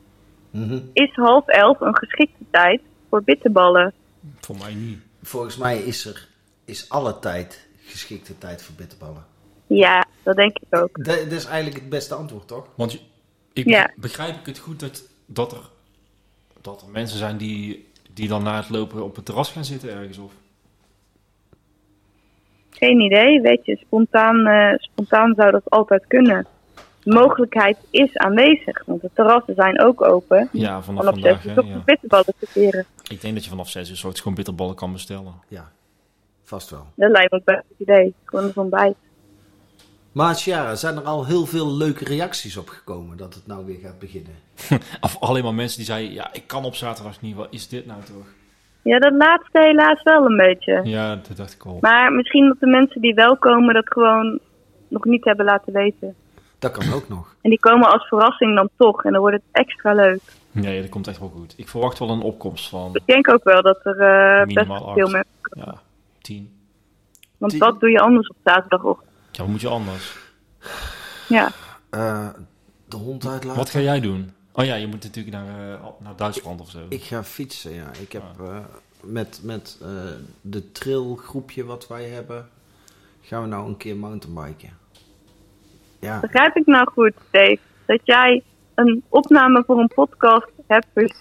S3: Mhm.
S4: Is half elf een geschikte tijd voor bitterballen?
S2: Voor mij niet.
S3: volgens mij is er is alle tijd geschikte tijd voor bitterballen.
S4: Ja, dat denk ik ook.
S3: Dat, dat is eigenlijk het beste antwoord, toch?
S2: Want je- ik
S4: Ja.
S2: begrijp ik het goed dat, dat, er, dat er mensen zijn die, die dan na het lopen op het terras gaan zitten ergens of...
S4: Geen idee, weet je. Spontaan, eh, spontaan zou dat altijd kunnen. De mogelijkheid is aanwezig, want de terrassen zijn ook open.
S2: Ja, vanaf
S4: Vanaf
S2: vandaag.
S4: zes
S2: Hè,
S4: uur toch
S2: ja.
S4: de bitterballen te keren.
S2: Ik denk dat je vanaf 6 uur soort gewoon bitterballen kan bestellen.
S3: Ja, vast wel.
S4: Dat lijkt me een best goed idee. Gewoon een ontbijt.
S3: Maar Ciara, zijn er al heel veel leuke reacties op gekomen dat het nou weer gaat beginnen?
S2: Of alleen maar mensen die zeiden, ja, ik kan op zaterdag niet. Wat is dit nou toch?
S4: Ja, dat laatste helaas wel een beetje.
S2: Ja, dat dacht ik al.
S4: Maar misschien dat de mensen die wel komen dat gewoon nog niet hebben laten weten.
S3: Dat kan ook nog.
S4: En die komen als verrassing dan toch. En dan wordt het extra leuk.
S2: Nee, dat komt echt wel goed. Ik verwacht wel een opkomst van,
S4: Ik denk ook wel dat er eh, best
S2: Minimaal acht.
S4: veel mensen...
S2: ja, 10.
S4: Want
S3: Die-
S4: wat doe je anders op zaterdagochtend?
S2: Ja, wat moet je anders?
S4: Ja,
S3: Eh, de hond uitlaten.
S2: Wat ga jij doen? Oh ja, je moet natuurlijk naar, eh, naar Duitsland of zo.
S3: Ik ga fietsen, ja. Ik heb eh, met, met eh, de trailgroepje wat wij hebben, gaan we nou een keer mountainbiken. Ja,
S4: begrijp ik nou goed, Dave? Dat jij een opname voor een podcast hebt vers-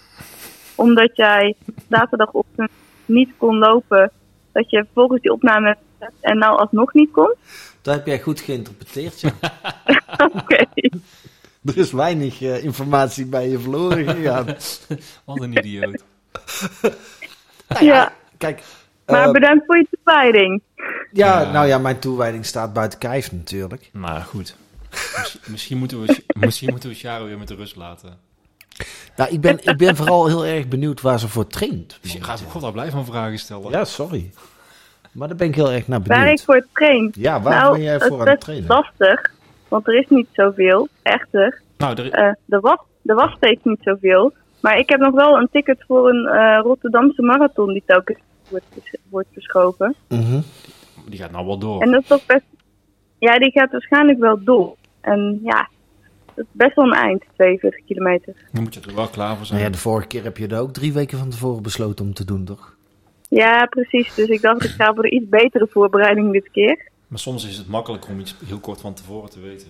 S4: omdat jij zaterdagochtend niet kon lopen. Dat je volgens die opname hebt gezegd en nou alsnog niet kon?
S3: dat heb jij goed geïnterpreteerd, ja.
S4: Oké.
S3: Eh, er is weinig eh, informatie bij je verloren gegaan.
S2: Wat een idioot.
S4: Ja,
S3: Nou Kijk,
S4: maar
S3: eh,
S4: bedankt voor je toewijding.
S3: ja,
S2: Ja.
S3: nou ja, mijn toewijding staat buiten kijf natuurlijk.
S2: Maar Nou goed. Miss- misschien, moeten we, misschien moeten we Sharo weer met de rust laten.
S3: Nou, ik ben, ik ben vooral heel erg benieuwd waar ze voor traint.
S2: Dus je gaat ze god al blij van vragen stellen.
S3: Ja, sorry. Maar daar ben ik heel erg naar
S4: Waar ik
S3: benieuwd.
S4: voor train.
S3: Ja, waar
S4: nou,
S3: ben jij
S4: dat
S3: voor aan het
S4: is
S3: trainen?
S4: lastig, want er is niet zoveel, echter.
S2: Nou, er,
S4: Eh, er, was, er was steeds niet zoveel. Maar ik heb nog wel een ticket voor een eh, Rotterdamse marathon die telkens wordt, vers- wordt verschoven.
S3: Mhm.
S2: die gaat nou wel door.
S4: En dat is toch best... Ja, die gaat waarschijnlijk wel door. En ja, dat is best wel een eind, 42 kilometer.
S2: Dan moet je er wel klaar voor zijn.
S3: Nou ja, de vorige keer heb je dat ook drie weken van tevoren besloten om te doen, toch?
S4: Ja, precies. Dus ik dacht, ik ga voor de iets betere voorbereiding dit keer.
S2: Maar soms is het makkelijk om iets heel kort van tevoren te weten.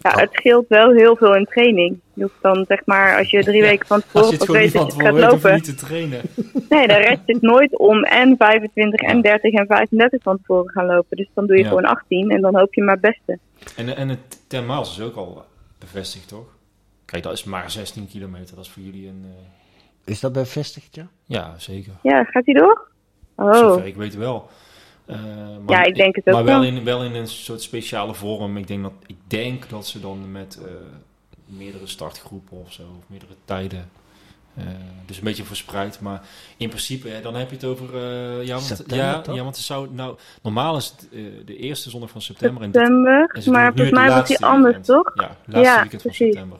S4: Ja, het scheelt wel heel veel in training. Je hoeft dan, zeg maar, als je drie weken van
S2: Als je
S4: tevoren
S2: het
S4: pas
S2: gewoon niet
S4: weet
S2: van
S4: dat je
S2: tevoren
S4: gaat
S2: weet, hoef je niet te
S4: lopen.
S2: trainen.
S4: Nee, dan red je het nooit om en 25 en 30 en 35 van tevoren gaan lopen. Dus dan doe je
S2: Ja.
S4: gewoon 18 en dan hoop je maar het beste.
S2: En, en het ten miles is ook al bevestigd, toch? Kijk, dat is maar 16 kilometer. Dat is voor jullie een... eh,
S3: Is dat bevestigd, ja?
S2: ja, zeker.
S4: Ja, gaat hij door? Oh,
S2: Zover ik weet wel. Eh, maar,
S4: Ja, ik denk het ook
S2: Maar wel
S4: wel.
S2: in, wel in een soort speciale vorm. Ik denk dat, ik denk dat ze dan met eh, meerdere startgroepen of zo, of meerdere tijden. eh, dus een beetje verspreid, maar in principe, hè, dan heb je het over. eh, ja, want,
S3: September,
S2: ja,
S3: toch?
S2: ja, want het zou. Nou, normaal is het eh, de eerste zondag van september. En dit, en
S4: september.
S2: ze
S4: Maar
S2: doen het
S4: volgens
S2: nu
S4: mij
S2: het
S4: was die
S2: laatste
S4: anders,
S2: weekend.
S4: toch?
S2: Ja, het laatste
S4: Ja,
S2: weekend van
S4: precies.
S2: september.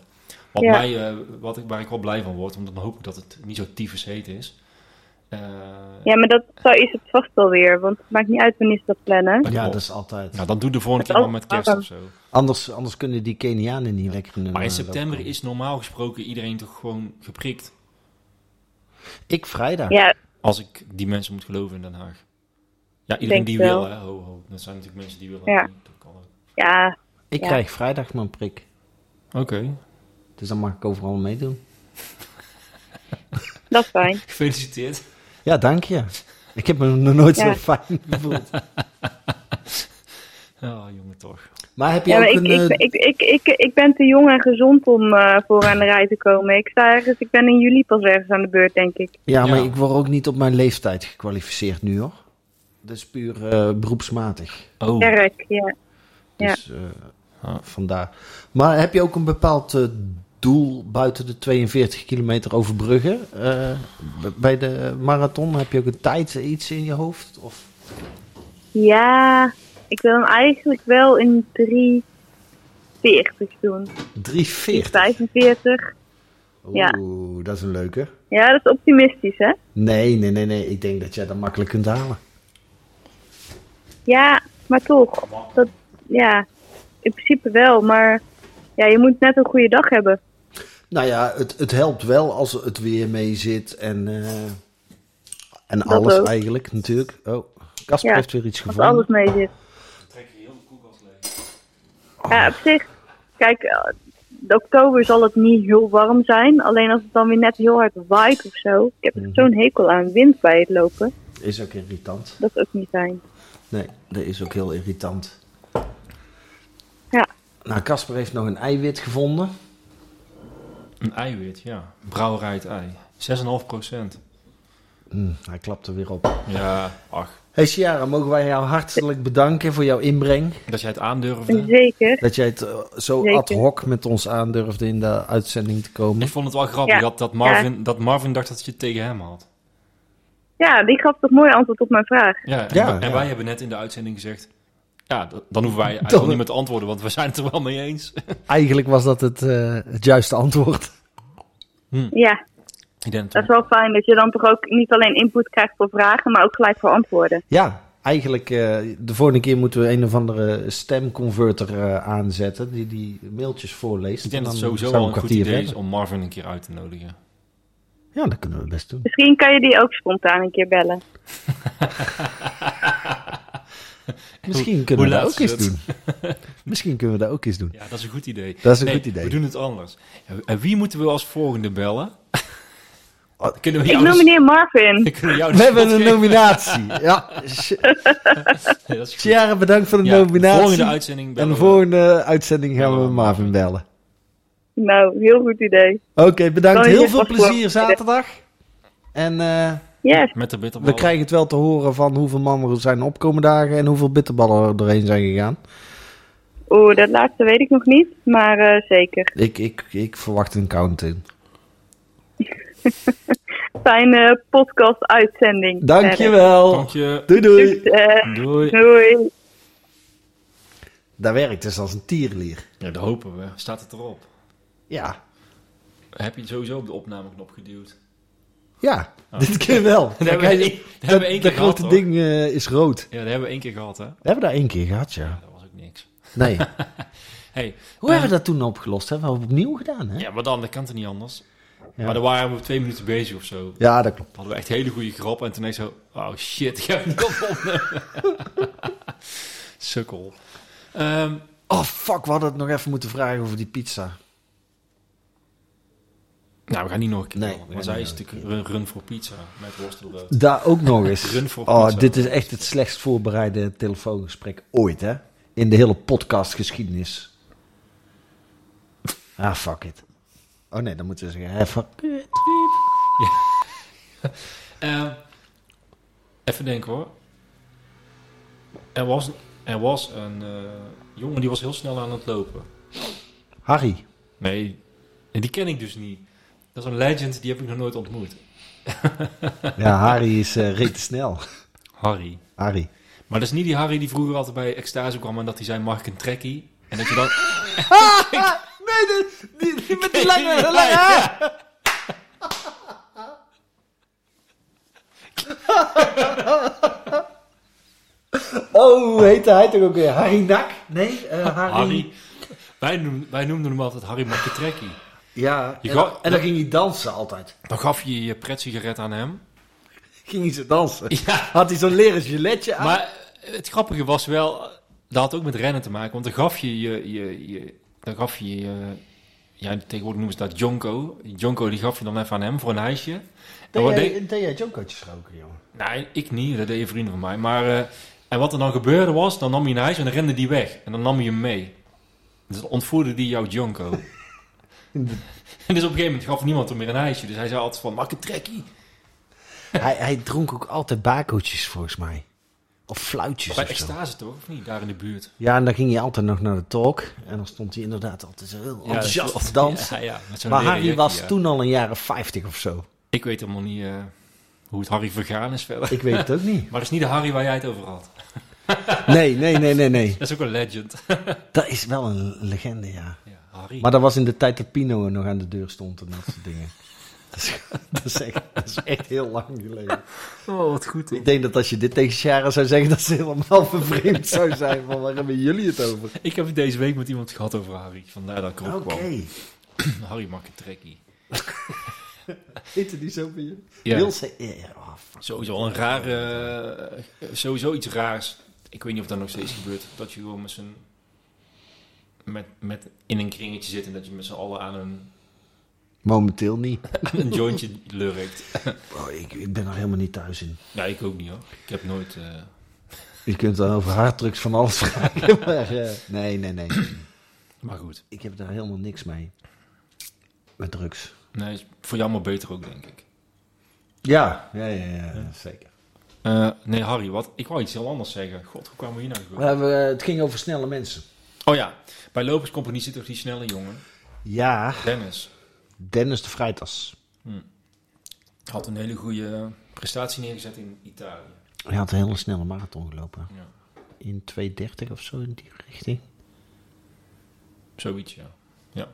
S2: Wat
S4: Ja.
S2: mij, eh, wat ik, waar ik wel blij van word, want dan hoop ik dat het niet zo tyfus heet is. Eh,
S4: Ja, maar dat zo is het vast wel weer. Want het maakt niet uit wanneer ze dat plannen.
S2: dat
S3: Ja,
S2: klopt.
S3: dat is altijd.
S2: Nou, dan doe de volgende
S4: Het
S2: keer maar
S4: ook
S2: met
S4: warm.
S2: kerst of zo.
S3: Anders, anders kunnen die Kenianen niet lekker in hun,
S2: Maar in
S3: eh,
S2: september
S3: loopbaan.
S2: is normaal gesproken iedereen toch gewoon geprikt.
S3: Ik vrijdag.
S4: Ja,
S2: Als ik die mensen moet geloven in Den Haag. Ja, iedereen
S4: Denk
S2: die
S4: het wel.
S2: wil, hè. Ho, ho. Dat zijn natuurlijk mensen die willen.
S4: Ja.
S2: Dat kan ook.
S4: ja,
S3: Ik
S4: Ja.
S3: krijg vrijdag mijn prik.
S2: Oké,
S3: Dus dan mag ik overal meedoen.
S4: dat is fijn.
S2: gefeliciteerd.
S3: Ja, dank je. Ik heb me nog nooit
S4: Ja.
S3: zo fijn gevoeld.
S2: Oh, jongen, toch.
S3: Maar heb je
S4: Ja, maar
S3: ook
S4: ik,
S3: een...
S4: ik,
S3: eh,
S4: ik, ik, ik, ik ben te jong en gezond om eh, voor aan de rij te komen. Ik sta ergens, ik ben in juli pas ergens aan de beurt, denk ik.
S3: ja, maar
S2: Ja.
S3: ik word ook niet op mijn leeftijd gekwalificeerd nu, hoor. Dat is puur eh, beroepsmatig.
S2: Oh,
S4: Sterk, ja. Ja.
S3: Dus eh,
S2: Ah.
S3: vandaar. Maar heb je ook een bepaald eh, doel buiten de 42 kilometer overbruggen? Eh, b- bij de marathon heb je ook een tijd, eh, iets in je hoofd? Of...
S4: Ja, ik wil hem eigenlijk wel in 340 doen.
S3: 340.
S4: 45. Ja.
S3: Oeh, dat is een leuke.
S4: Ja, dat is optimistisch, hè?
S3: Nee, nee, nee, nee. Ik denk dat jij dat makkelijk kunt halen.
S4: Ja, maar toch. Dat, ja, in principe wel. Maar ja, je moet net een goede dag hebben.
S3: Nou ja, het, het helpt wel als het weer mee zit en, eh, en
S4: Dat
S3: alles
S4: ook.
S3: eigenlijk natuurlijk. Oh, Casper
S4: Ja,
S3: heeft weer iets
S4: Als
S3: gevonden.
S4: alles mee zit.
S2: trek je heel de koelkast leeg.
S4: Ja, op zich. Kijk, eh, de oktober zal het niet heel warm zijn. Alleen als het dan weer net heel hard waait of zo. Ik heb er zo'n hekel aan wind bij het lopen.
S3: Is ook irritant.
S4: Dat is ook niet fijn.
S3: Nee, dat is ook heel irritant.
S4: Ja.
S3: Nou, Casper heeft nog een eiwit gevonden.
S2: Een eiwit, ja. Brouwerij het ei. 6,5 procent.
S3: Hm, hij klapt er weer op.
S2: Ja, ach.
S3: Hey Ciara, mogen wij jou hartelijk bedanken voor jouw inbreng.
S2: Dat jij het aandurfde.
S4: Zeker.
S3: Dat jij het eh, zo
S4: Zeker.
S3: ad hoc met ons aandurfde in de uitzending te komen.
S2: Ik vond het wel grappig
S4: Ja.
S2: dat, dat, Marvin, dat Marvin dacht dat je het tegen hem had.
S4: Ja, die gaf toch mooi antwoord op mijn vraag.
S2: Ja, en,
S3: Ja,
S2: wij- en
S3: ja.
S2: wij hebben net in de uitzending gezegd... Ja, dat- dan hoeven wij eigenlijk
S3: Dat-
S2: al niet meer te antwoorden, want we zijn het er wel mee eens.
S3: Eigenlijk was dat het, eh, het juiste antwoord.
S4: Ja,
S2: Ik denk
S4: dat is wel fijn dat je dan toch ook niet alleen input krijgt voor vragen, maar ook gelijk voor antwoorden.
S3: Ja, eigenlijk eh, de volgende keer moeten we een of andere stemconverter eh, aanzetten die die mailtjes voorleest.
S2: Ik denk
S3: En
S2: dat het
S3: dan
S2: sowieso
S3: zijn we
S2: wel een goed
S3: kwartier
S2: idee is
S3: verder.
S2: om Marvin een keer uit te nodigen.
S3: Ja, dat kunnen we best doen.
S4: Misschien kan je die ook spontaan een keer bellen.
S3: Misschien kunnen we
S2: hoe
S3: dat
S2: laat
S3: ook
S2: is
S3: eens
S2: het?
S3: doen. Misschien kunnen we dat ook eens doen.
S2: Ja, dat is een goed idee.
S3: Dat is een
S2: Nee,
S3: goed idee.
S2: We doen het anders. En wie moeten we als volgende bellen?
S3: Oh,
S2: Kunnen we
S4: Ik
S2: jou de-
S4: nomineer Marvin.
S2: kunnen we jou dus de
S3: We hebben
S2: schuld
S3: een
S2: geven?
S3: nominatie. Ja,
S2: Nee, dat is goed.
S3: Ciara, bedankt voor de
S2: Ja, de
S3: nominatie.
S2: volgende uitzending
S3: en
S2: bellen
S3: de
S2: we.
S3: volgende uitzending gaan we
S2: Bellen we
S3: Marvin bellen.
S4: Nou, heel goed idee.
S3: Oké, bedankt.
S4: Kan je
S3: Heel
S4: dit
S3: veel
S4: afgelopen-
S3: plezier zaterdag. En eh,
S4: Yes,
S2: Met de
S3: we
S2: bitterballen.
S3: krijgen het wel te horen van hoeveel mannen er zijn opkomen dagen en hoeveel bitterballen erheen zijn gegaan.
S4: oeh, dat laatste weet ik nog niet, maar eh, zeker.
S3: Ik, ik, ik verwacht een count in.
S4: Fijne podcast-uitzending.
S3: Dankjewel.
S2: Dank je.
S3: Doei doei.
S4: Succes.
S2: Doei.
S4: Doei.
S3: Dat werkt dus als een tierlier.
S2: Ja, dat hopen we. Staat het erop?
S3: Ja.
S2: Heb je het sowieso op de opnameknop geduwd?
S3: Ja, dit keer wel.
S2: Oh. Dat hebben we, één- dat hebben we één keer
S3: dat
S2: gehad,
S3: grote
S2: hoor.
S3: ding eh, is rood.
S2: Ja, dat hebben we één keer gehad, hè?
S3: We hebben daar één keer gehad, ja.
S2: Ja, dat was ook niks.
S3: Nee.
S2: Hey,
S3: Hoe hebben we dat toen opgelost? Hebben we opnieuw gedaan, hè?
S2: Ja, maar dan, dat kan toch niet anders?
S3: Ja.
S2: Maar dan waren we twee minuten bezig of zo.
S3: Ja, dat klopt.
S2: Dan hadden we echt hele goede grap en toen ineens zo... Oh shit, ik heb het niet opgenomen. Sukkel. Ehm,
S3: Oh, fuck, we hadden het nog even moeten vragen over die pizza.
S2: nou, we gaan niet nog een keer
S3: Nee,
S2: bellen,
S3: we gaan
S2: Maar zij
S3: niet
S2: is
S3: nog een
S2: natuurlijk run, run for pizza met worstelbrood.
S3: Daar ook nog eens.
S2: Run voor
S3: oh,
S2: pizza.
S3: dit is echt het slechtst voorbereide telefoongesprek ooit, hè? In de hele podcastgeschiedenis. Ah, fuck it. Oh nee, dan moeten we zeggen, hè, fuck it.
S2: Ehm, even denken hoor. er was, er was een eh, jongen die was heel snel aan het lopen.
S3: Harry.
S2: Nee, en die ken ik dus niet. Dat is een legend, die heb ik nog nooit ontmoet.
S3: Ja, Harry is eh reet snel.
S2: Harry.
S3: Harry.
S2: Maar dat is niet die Harry die vroeger altijd bij Extase kwam en dat hij zei, mag ik een trekkie? En dat je dan...
S3: Nee, die, met die Oh, heette hij toch ook weer? Harry Nak? Nee, eh, Harry.
S2: Harry. Wij, noem- wij noemden hem altijd Harry mag een trekkie.
S3: Ja,
S2: Je
S3: en,
S2: gaat-
S3: en dan ging hij dansen altijd.
S2: Dan gaf je je pret-sigaret aan hem.
S3: Ging hij zo dansen.
S2: Ja,
S3: Had hij zo'n leren giletje aan.
S2: maar het grappige was wel... Dat had ook met rennen te maken, want dan gaf je je... je, je dan gaf je je... Ja, tegenwoordig noemen ze dat Jonko. Jonko, die gaf je dan even aan hem voor een ijsje. Dan
S3: deed,
S2: wat
S3: jij,
S2: deed-
S3: deed jij jonkootjes roken, jongen?
S2: Nee, ik niet. Dat deden vrienden van mij. Maar, eh, en wat er dan gebeurde was, dan nam hij een ijs en dan rende die weg. En dan nam hij hem mee. Dus dan ontvoerde die jouw Jonko. en dus op een gegeven moment gaf niemand hem meer een ijsje. Dus hij zei altijd van, maak een trekkie.
S3: hij, hij dronk ook altijd bakootjes, volgens mij. Of fluitjes
S2: Bij
S3: of zo.
S2: extase toch, of niet? Daar in de buurt.
S3: Ja, en dan ging hij altijd nog naar de talk. En dan stond hij inderdaad altijd zo heel enthousiast te dansen.
S2: Ja, ja, met zo'n
S3: Maar
S2: leren
S3: Harry
S2: jackie,
S3: was
S2: ja.
S3: toen al een jaren 50 of zo.
S2: Ik weet helemaal niet eh, hoe het Harry vergaan is verder.
S3: Ik weet het ook niet.
S2: Maar dat is niet de Harry waar jij het over had.
S3: Nee, nee, nee, nee, nee.
S2: Dat is ook een legend.
S3: Dat is wel een legende, ja.
S2: ja, Harry.
S3: Maar dat was in de tijd dat Pino nog aan de deur stond en dat soort dingen. Dat is, dat is, echt, dat is echt heel lang geleden.
S2: oh, wat goed.
S3: Ik denk dat als je dit tegen Shara zou zeggen, dat ze helemaal vervreemd zou zijn. Van waar hebben jullie het over?
S2: Ik heb het deze week met iemand gehad over Harry. Vandaar dat ik erop
S3: Oké.
S2: kwam. Harry maakt een trekkie.
S3: Eten die zo bij jullie?
S2: Ja.
S3: Wil ze... ja, ja, oh, fuck.
S2: Sowieso al een raar, eh, sowieso iets raars. Ik weet niet of dat nog steeds gebeurt. Dat je gewoon met z'n, met, met in een kringetje zit en dat je met z'n allen aan een,
S3: Momenteel niet.
S2: aan een jointje lurkt.
S3: Oh, ik, ik ben er helemaal niet thuis in.
S2: Ja, ik ook niet hoor. Ik heb nooit... eh,
S3: Je kunt dan over harddrugs van alles vragen. Maar, eh, nee, nee, nee.
S2: maar goed.
S3: Ik heb daar helemaal niks mee. Met drugs.
S2: Nee, is voor jou maar beter ook, denk ik.
S3: Ja, ja, ja, ja, zeker.
S2: Eh, nee, Harry, wat? Ik wou iets heel anders zeggen. God, hoe kwamen we hier nou
S3: We
S2: gebeurd?
S3: hebben, eh, het ging over snelle mensen.
S2: Oh ja, bij Loperscompagnie zit toch die snelle jongen.
S3: Ja,
S2: Dennis
S3: Dennis de Vrijtas.
S2: had een hele goede prestatie neergezet in Italië.
S3: Hij had een hele snelle marathon gelopen.
S2: Ja.
S3: In 2.30 of zo in die richting.
S2: Zoiets, ja. ja.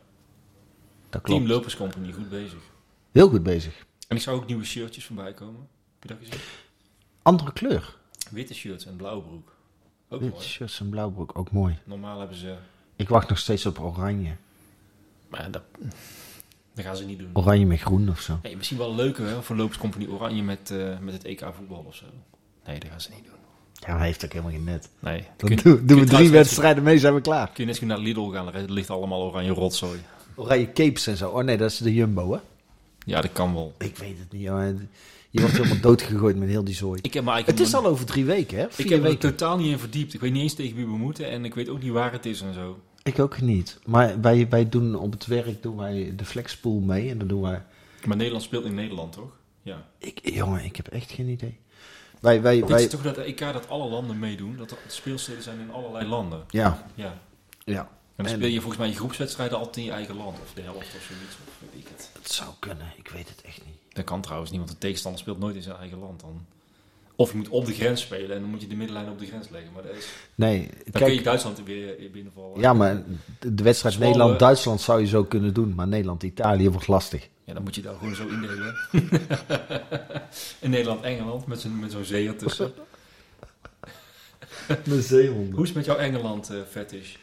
S3: Dat klopt.
S2: Team Loperscompagnie, goed bezig.
S3: Heel goed bezig.
S2: En ik zag ook nieuwe shirtjes voorbij komen. Heb je dat gezien?
S3: Andere kleur.
S2: Witte shirts en blauwe broek. Ook
S3: Wit
S2: mooi.
S3: shirts en blauw broek, ook mooi.
S2: Normaal hebben ze...
S3: Ik wacht nog steeds op oranje.
S2: Maar dat, dat gaan ze niet doen.
S3: Oranje met groen of zo.
S2: Hey, misschien wel een leuke hè, voor Loopscompagnie Oranje met, eh, met het EK voetbal of zo. Nee, dat gaan ze niet doen.
S3: Ja, hij heeft ook helemaal geen net.
S2: Nee. Dan
S3: Dan doen, doen we drie
S2: wedstrijden.
S3: wedstrijden mee, zijn we klaar.
S2: Kun je net zo goed naar Lidl gaan, daar ligt allemaal oranje rotzooi.
S3: Oranje capes en zo. Oh nee, dat is de Jumbo, hè?
S2: Ja, dat kan wel.
S3: Ik weet het niet, hoor. Je wordt helemaal doodgegooid met heel die zooi.
S2: Ik heb, maar ik
S3: Het
S2: heb
S3: is
S2: me-
S3: al over drie weken, hè? Vier
S2: ik heb me er
S3: weken.
S2: totaal niet in verdiept. Ik weet niet eens tegen wie we moeten en ik weet ook niet waar het is en zo.
S3: Ik ook niet. Maar wij, wij doen op het werk doen wij de flexpool mee. En dan doen wij...
S2: Maar Nederland speelt in Nederland, toch? Ja.
S3: Ik, jongen, ik heb echt geen idee. Wij, wij,
S2: Dit
S3: wij...
S2: is toch dat EK dat alle landen meedoen, dat er speelsteden zijn in allerlei landen.
S3: Ja,
S2: Ja. En
S3: ja.
S2: dan
S3: En-
S2: speel je volgens mij je groepswedstrijden altijd in je eigen land, of de helft of zoiets, of weet ik het.
S3: Het zou kunnen. Ik weet het echt niet.
S2: Dat kan trouwens niet, want de tegenstander speelt nooit in zijn eigen land dan. Of je moet op de grens spelen en dan moet je de middenlijn op de grens leggen. Maar dat is,
S3: Nee,
S2: dan kun je
S3: kijk...
S2: Duitsland er weer in binnenvallen.
S3: Ja, maar de de wedstrijd
S2: Zwolle-
S3: Nederland-Duitsland zou je zo kunnen doen. Maar Nederland-Italië wordt lastig.
S2: Ja, dan moet je daar gewoon zo indelen. in Nederland-Engeland met zo'n met zo'n zee ertussen.
S3: Met zeehonden.
S2: Hoe is het met jouw Engeland eh fetish?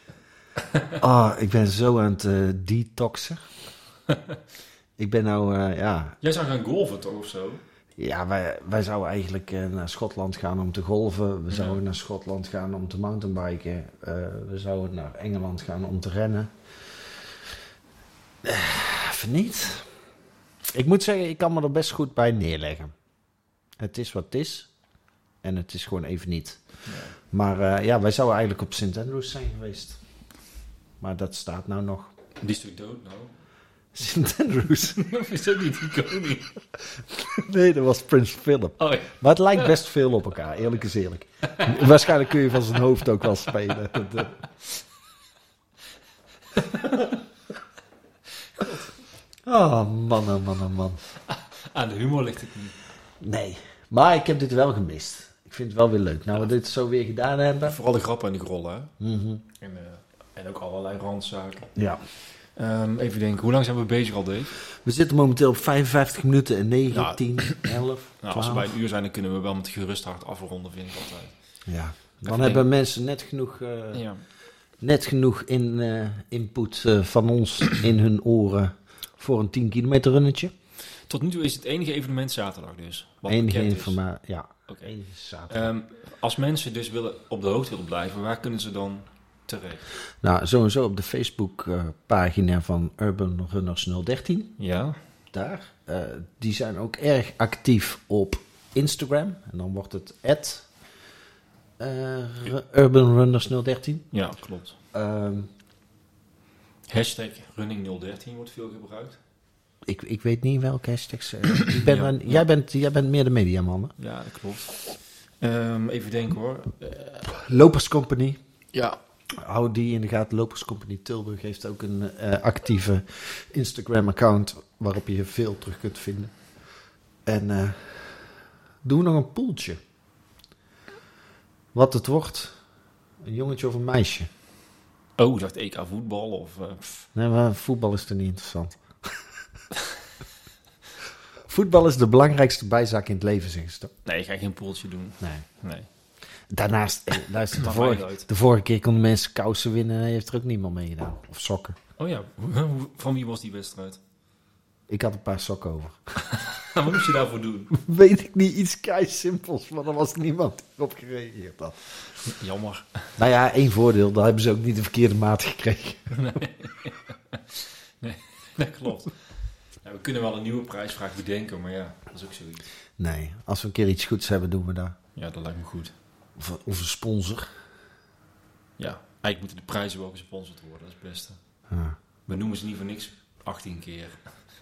S3: Ah, ik ben zo aan het eh, detoxen. ik ben nou, eh, ja...
S2: Jij zou gaan golven toch of zo?
S3: Ja, wij, wij zouden eigenlijk eh, naar Schotland gaan om te golven. We zouden naar Schotland gaan om te mountainbiken. Eh, we zouden naar Engeland gaan om te rennen. Eh, Even niet. Ik moet zeggen, ik kan me er best goed bij neerleggen. Het is wat het is. En het is gewoon even niet. Maar eh, ja, wij zouden eigenlijk op St. Andrews zijn geweest. Maar dat staat nou nog.
S2: Die is natuurlijk dood nou.
S3: Sint Andrews.
S2: is dat niet die koning?
S3: Nee, dat was Prins Philip.
S2: Oh ja.
S3: Maar het lijkt best veel op elkaar, eerlijk is eerlijk. Waarschijnlijk kun je van zijn hoofd ook wel spelen. eh. Oh man, oh man, oh man.
S2: Aan de humor ligt het niet.
S3: Nee, maar ik heb dit wel gemist. Ik vind het wel weer leuk. Nou, we dit zo weer gedaan hebben.
S2: Vooral de grappen en de rollen. hè?
S3: Mhm.
S2: En, eh, en ook allerlei randzaken.
S3: Ja.
S2: Ehm, even denken, hoe lang zijn we bezig al deze?
S3: We zitten momenteel op 55 minuten en 9, 10, 11,
S2: Nou,
S3: 12.
S2: als we bij een uur zijn, dan kunnen we wel met gerust hart afronden, vind ik altijd.
S3: Ja. Dan
S2: Even
S3: hebben
S2: denken.
S3: mensen net genoeg, eh,
S2: Ja.
S3: net genoeg in, eh, input eh, van ons in hun oren voor een 10 kilometer runnetje.
S2: Tot nu toe is het enige evenement zaterdag dus. Wat
S3: Enige
S2: bekend is.
S3: informatie. Ja,
S2: Oké.
S3: enige zaterdag.
S2: Ehm, als mensen dus willen, op de hoogte willen blijven, waar kunnen ze dan terecht?
S3: Nou, sowieso op de Facebook-pagina van Urban Runners 013.
S2: Ja.
S3: Daar. Eh, die zijn ook erg actief op Instagram. En dan wordt het at eh, Urban Runners 013.
S2: Ja, klopt.
S3: Ehm,
S2: Hashtag running013 wordt veel gebruikt.
S3: ik, ik weet niet welke hashtags. eh, ik ben
S2: Ja.
S3: dan- jij, bent, jij bent meer de mediaman. hè?
S2: Ja, dat klopt. Ehm, even denken hoor.
S3: Loperscompany.
S2: ja.
S3: Hou die in de gaten. Loperscompany Tilburg heeft ook een eh, actieve Instagram-account waarop je veel terug kunt vinden. En eh, doen we nog een poeltje. Wat het wordt. Een jongetje of een meisje.
S2: Oh, ik dacht EK voetbal of... eh, pff.
S3: Nee, maar voetbal is er niet interessant. voetbal is de belangrijkste bijzaak in het leven, zeggen ze toch?
S2: nee, ik ga geen poeltje doen.
S3: Nee.
S2: Nee.
S3: Daarnaast, eh, luister, de
S2: Maakt mij niet
S3: vorige,
S2: uit.
S3: de vorige keer konden mensen kousen winnen en heeft er ook niemand mee gedaan. Of sokken.
S2: Oh ja, hoe- hoe- van wie was die wedstrijd?
S3: Ik had een paar sokken over.
S2: Nou, Wat moest je daarvoor doen?
S3: Weet ik niet, iets kei simpels, maar er was niemand die op gereageerd had.
S2: Jammer.
S3: Nou ja, één voordeel, daar hebben ze ook niet de verkeerde maat gekregen.
S2: Dat klopt. Ja, we kunnen wel een nieuwe prijsvraag bedenken, maar ja, dat is ook zoiets.
S3: Nee, als we een keer iets goeds hebben, doen we dat.
S2: Ja, dat lijkt me goed.
S3: Of, of een sponsor.
S2: Ja, eigenlijk moeten de prijzen wel gesponsord worden, dat is het beste.
S3: Ja.
S2: We noemen ze niet voor niks 18 keer.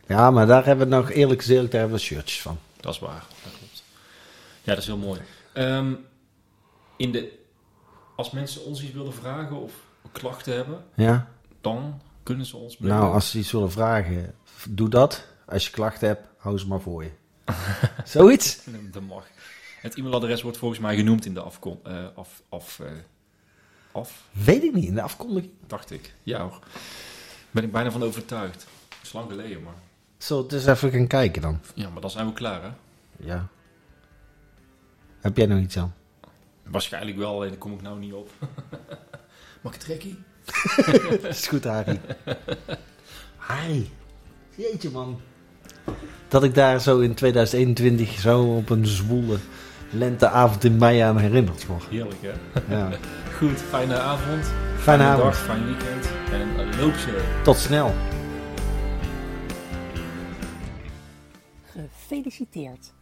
S3: Ja, maar daar hebben we nog eerlijk gezegd, daar hebben we shirtjes van.
S2: Dat is waar, dat klopt. Ja, dat is heel mooi. Ehm, in de, als mensen ons iets willen vragen of klachten hebben,
S3: Ja?
S2: dan kunnen ze ons mailen.
S3: Nou, als ze iets willen vragen, f- doe dat. Als je klachten hebt, hou ze maar voor je. Zoiets?
S2: Dat mag. Het e-mailadres wordt volgens mij genoemd in de afkom... eh, af, af, eh, af,
S3: Weet ik niet, in de afkondiging.
S2: Dacht ik. Ja hoor. Ben ik bijna van overtuigd. Dat is lang geleden, maar...
S3: Zo, dus even gaan kijken dan.
S2: Ja, maar dan zijn we klaar, hè?
S3: Ja. Heb jij nog iets aan?
S2: Waarschijnlijk wel, alleen daar kom ik nou niet op. Mag ik trekkie?
S3: Is goed, Harry. Harry. Jeetje, man. Dat ik daar zo in 2021 zo op een zwoele lenteavond in mei aan herinnerd word.
S2: Heerlijk, hè?
S3: Ja.
S2: Goed, fijne avond. Fijne,
S3: avond.
S2: dag, fijn weekend. En eh, loop ze.
S3: Tot snel.
S1: Gefeliciteerd!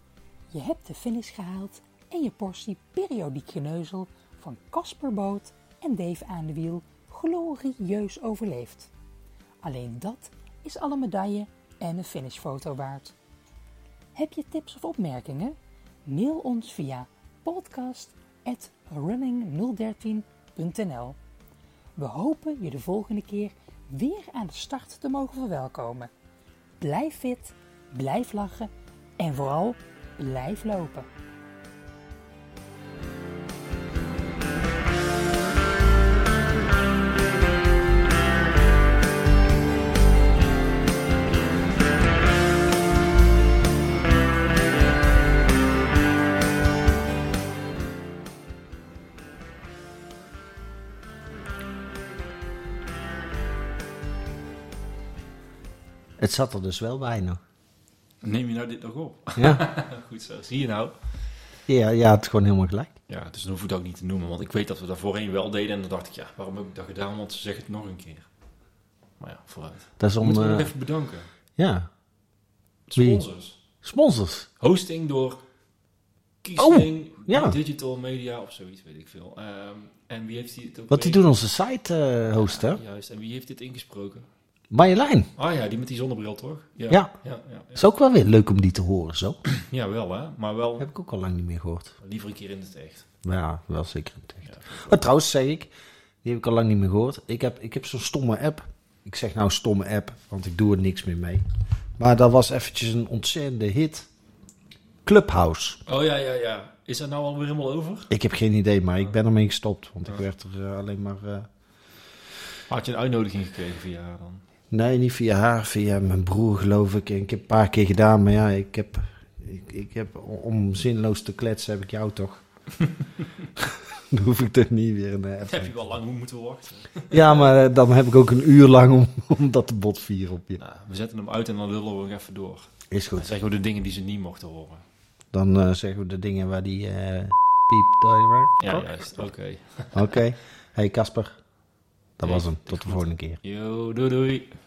S1: Je hebt de finish gehaald en je portie periodiek geneuzel van Casper Boot en Dave aan de wiel glorieus overleefd. Alleen dat is alle medaille en een finishfoto waard. Heb je tips of opmerkingen? Mail ons via podcast.running013.nl We hopen je de volgende keer weer aan de start te mogen verwelkomen. Blijf fit, blijf lachen en vooral blijf lopen.
S3: Het zat er dus wel bij nog.
S2: Neem je nou dit nog op?
S3: Ja,
S2: Goed zo, zie je nou?
S3: ja, ja het gewoon helemaal gelijk.
S2: Ja, dus dan hoef ik het ook niet te noemen, want ik weet dat we dat voorheen wel deden. En dan dacht ik, ja, waarom heb ik dat gedaan? Want ze zeggen het nog een keer. Maar ja, vooruit.
S3: Dat is om...
S2: Moeten we nog
S3: eh,
S2: even bedanken.
S3: ja, Wie?
S2: Sponsors.
S3: sponsors.
S2: Hosting door Kiesling,
S3: Oh, ja.
S2: Digital Media of zoiets, weet ik veel. Ehm, en wie heeft die het ook
S3: Want die
S2: mee-
S3: doen onze site eh hosten. hè?
S2: Juist, en wie heeft dit ingesproken?
S3: Marjolein.
S2: Ah ja, die met die zonnebril toch?
S3: Ja.
S2: Ja, ja, ja.
S3: Is ook wel weer leuk om die te horen zo.
S2: Ja, wel hè, maar wel
S3: Heb ik ook al lang niet meer gehoord.
S2: liever een keer in het echt.
S3: Maar Ja, wel zeker in het echt. Maar trouwens, zei ik, die heb ik al lang niet meer gehoord. Ik heb, ik heb zo'n stomme app. Ik zeg nou stomme app, want ik doe er niks meer mee. Maar dat was eventjes een ontzettende hit. Clubhouse.
S2: Oh ja, ja, ja. Is dat nou alweer helemaal over?
S3: Ik heb geen idee, maar ik ben ermee gestopt. Want ik werd er eh, alleen maar... eh,
S2: Had je een uitnodiging gekregen via haar dan?
S3: nee, niet via haar, via mijn broer geloof ik. En ik heb een paar keer gedaan, maar ja, ik heb... Ik, ik heb om zinloos te kletsen heb ik jou toch. Dan hoef ik er niet weer een app
S2: Heb je wel lang hoe moeten wachten.
S3: Ja, maar eh, dan heb ik ook een uur lang om, om dat te botvieren op je.
S2: Nou, we zetten hem uit en dan lullen we nog even door.
S3: Is
S2: Dan
S3: goed.
S2: zeggen we de dingen die ze niet mochten horen.
S3: Dan eh, zeggen we de dingen waar die eh piep. daar-
S2: Ja, juist. Oké.
S3: Oké. Hey Kasper. Dat was hem. Tot de volgende keer.
S2: Yo, doei doei.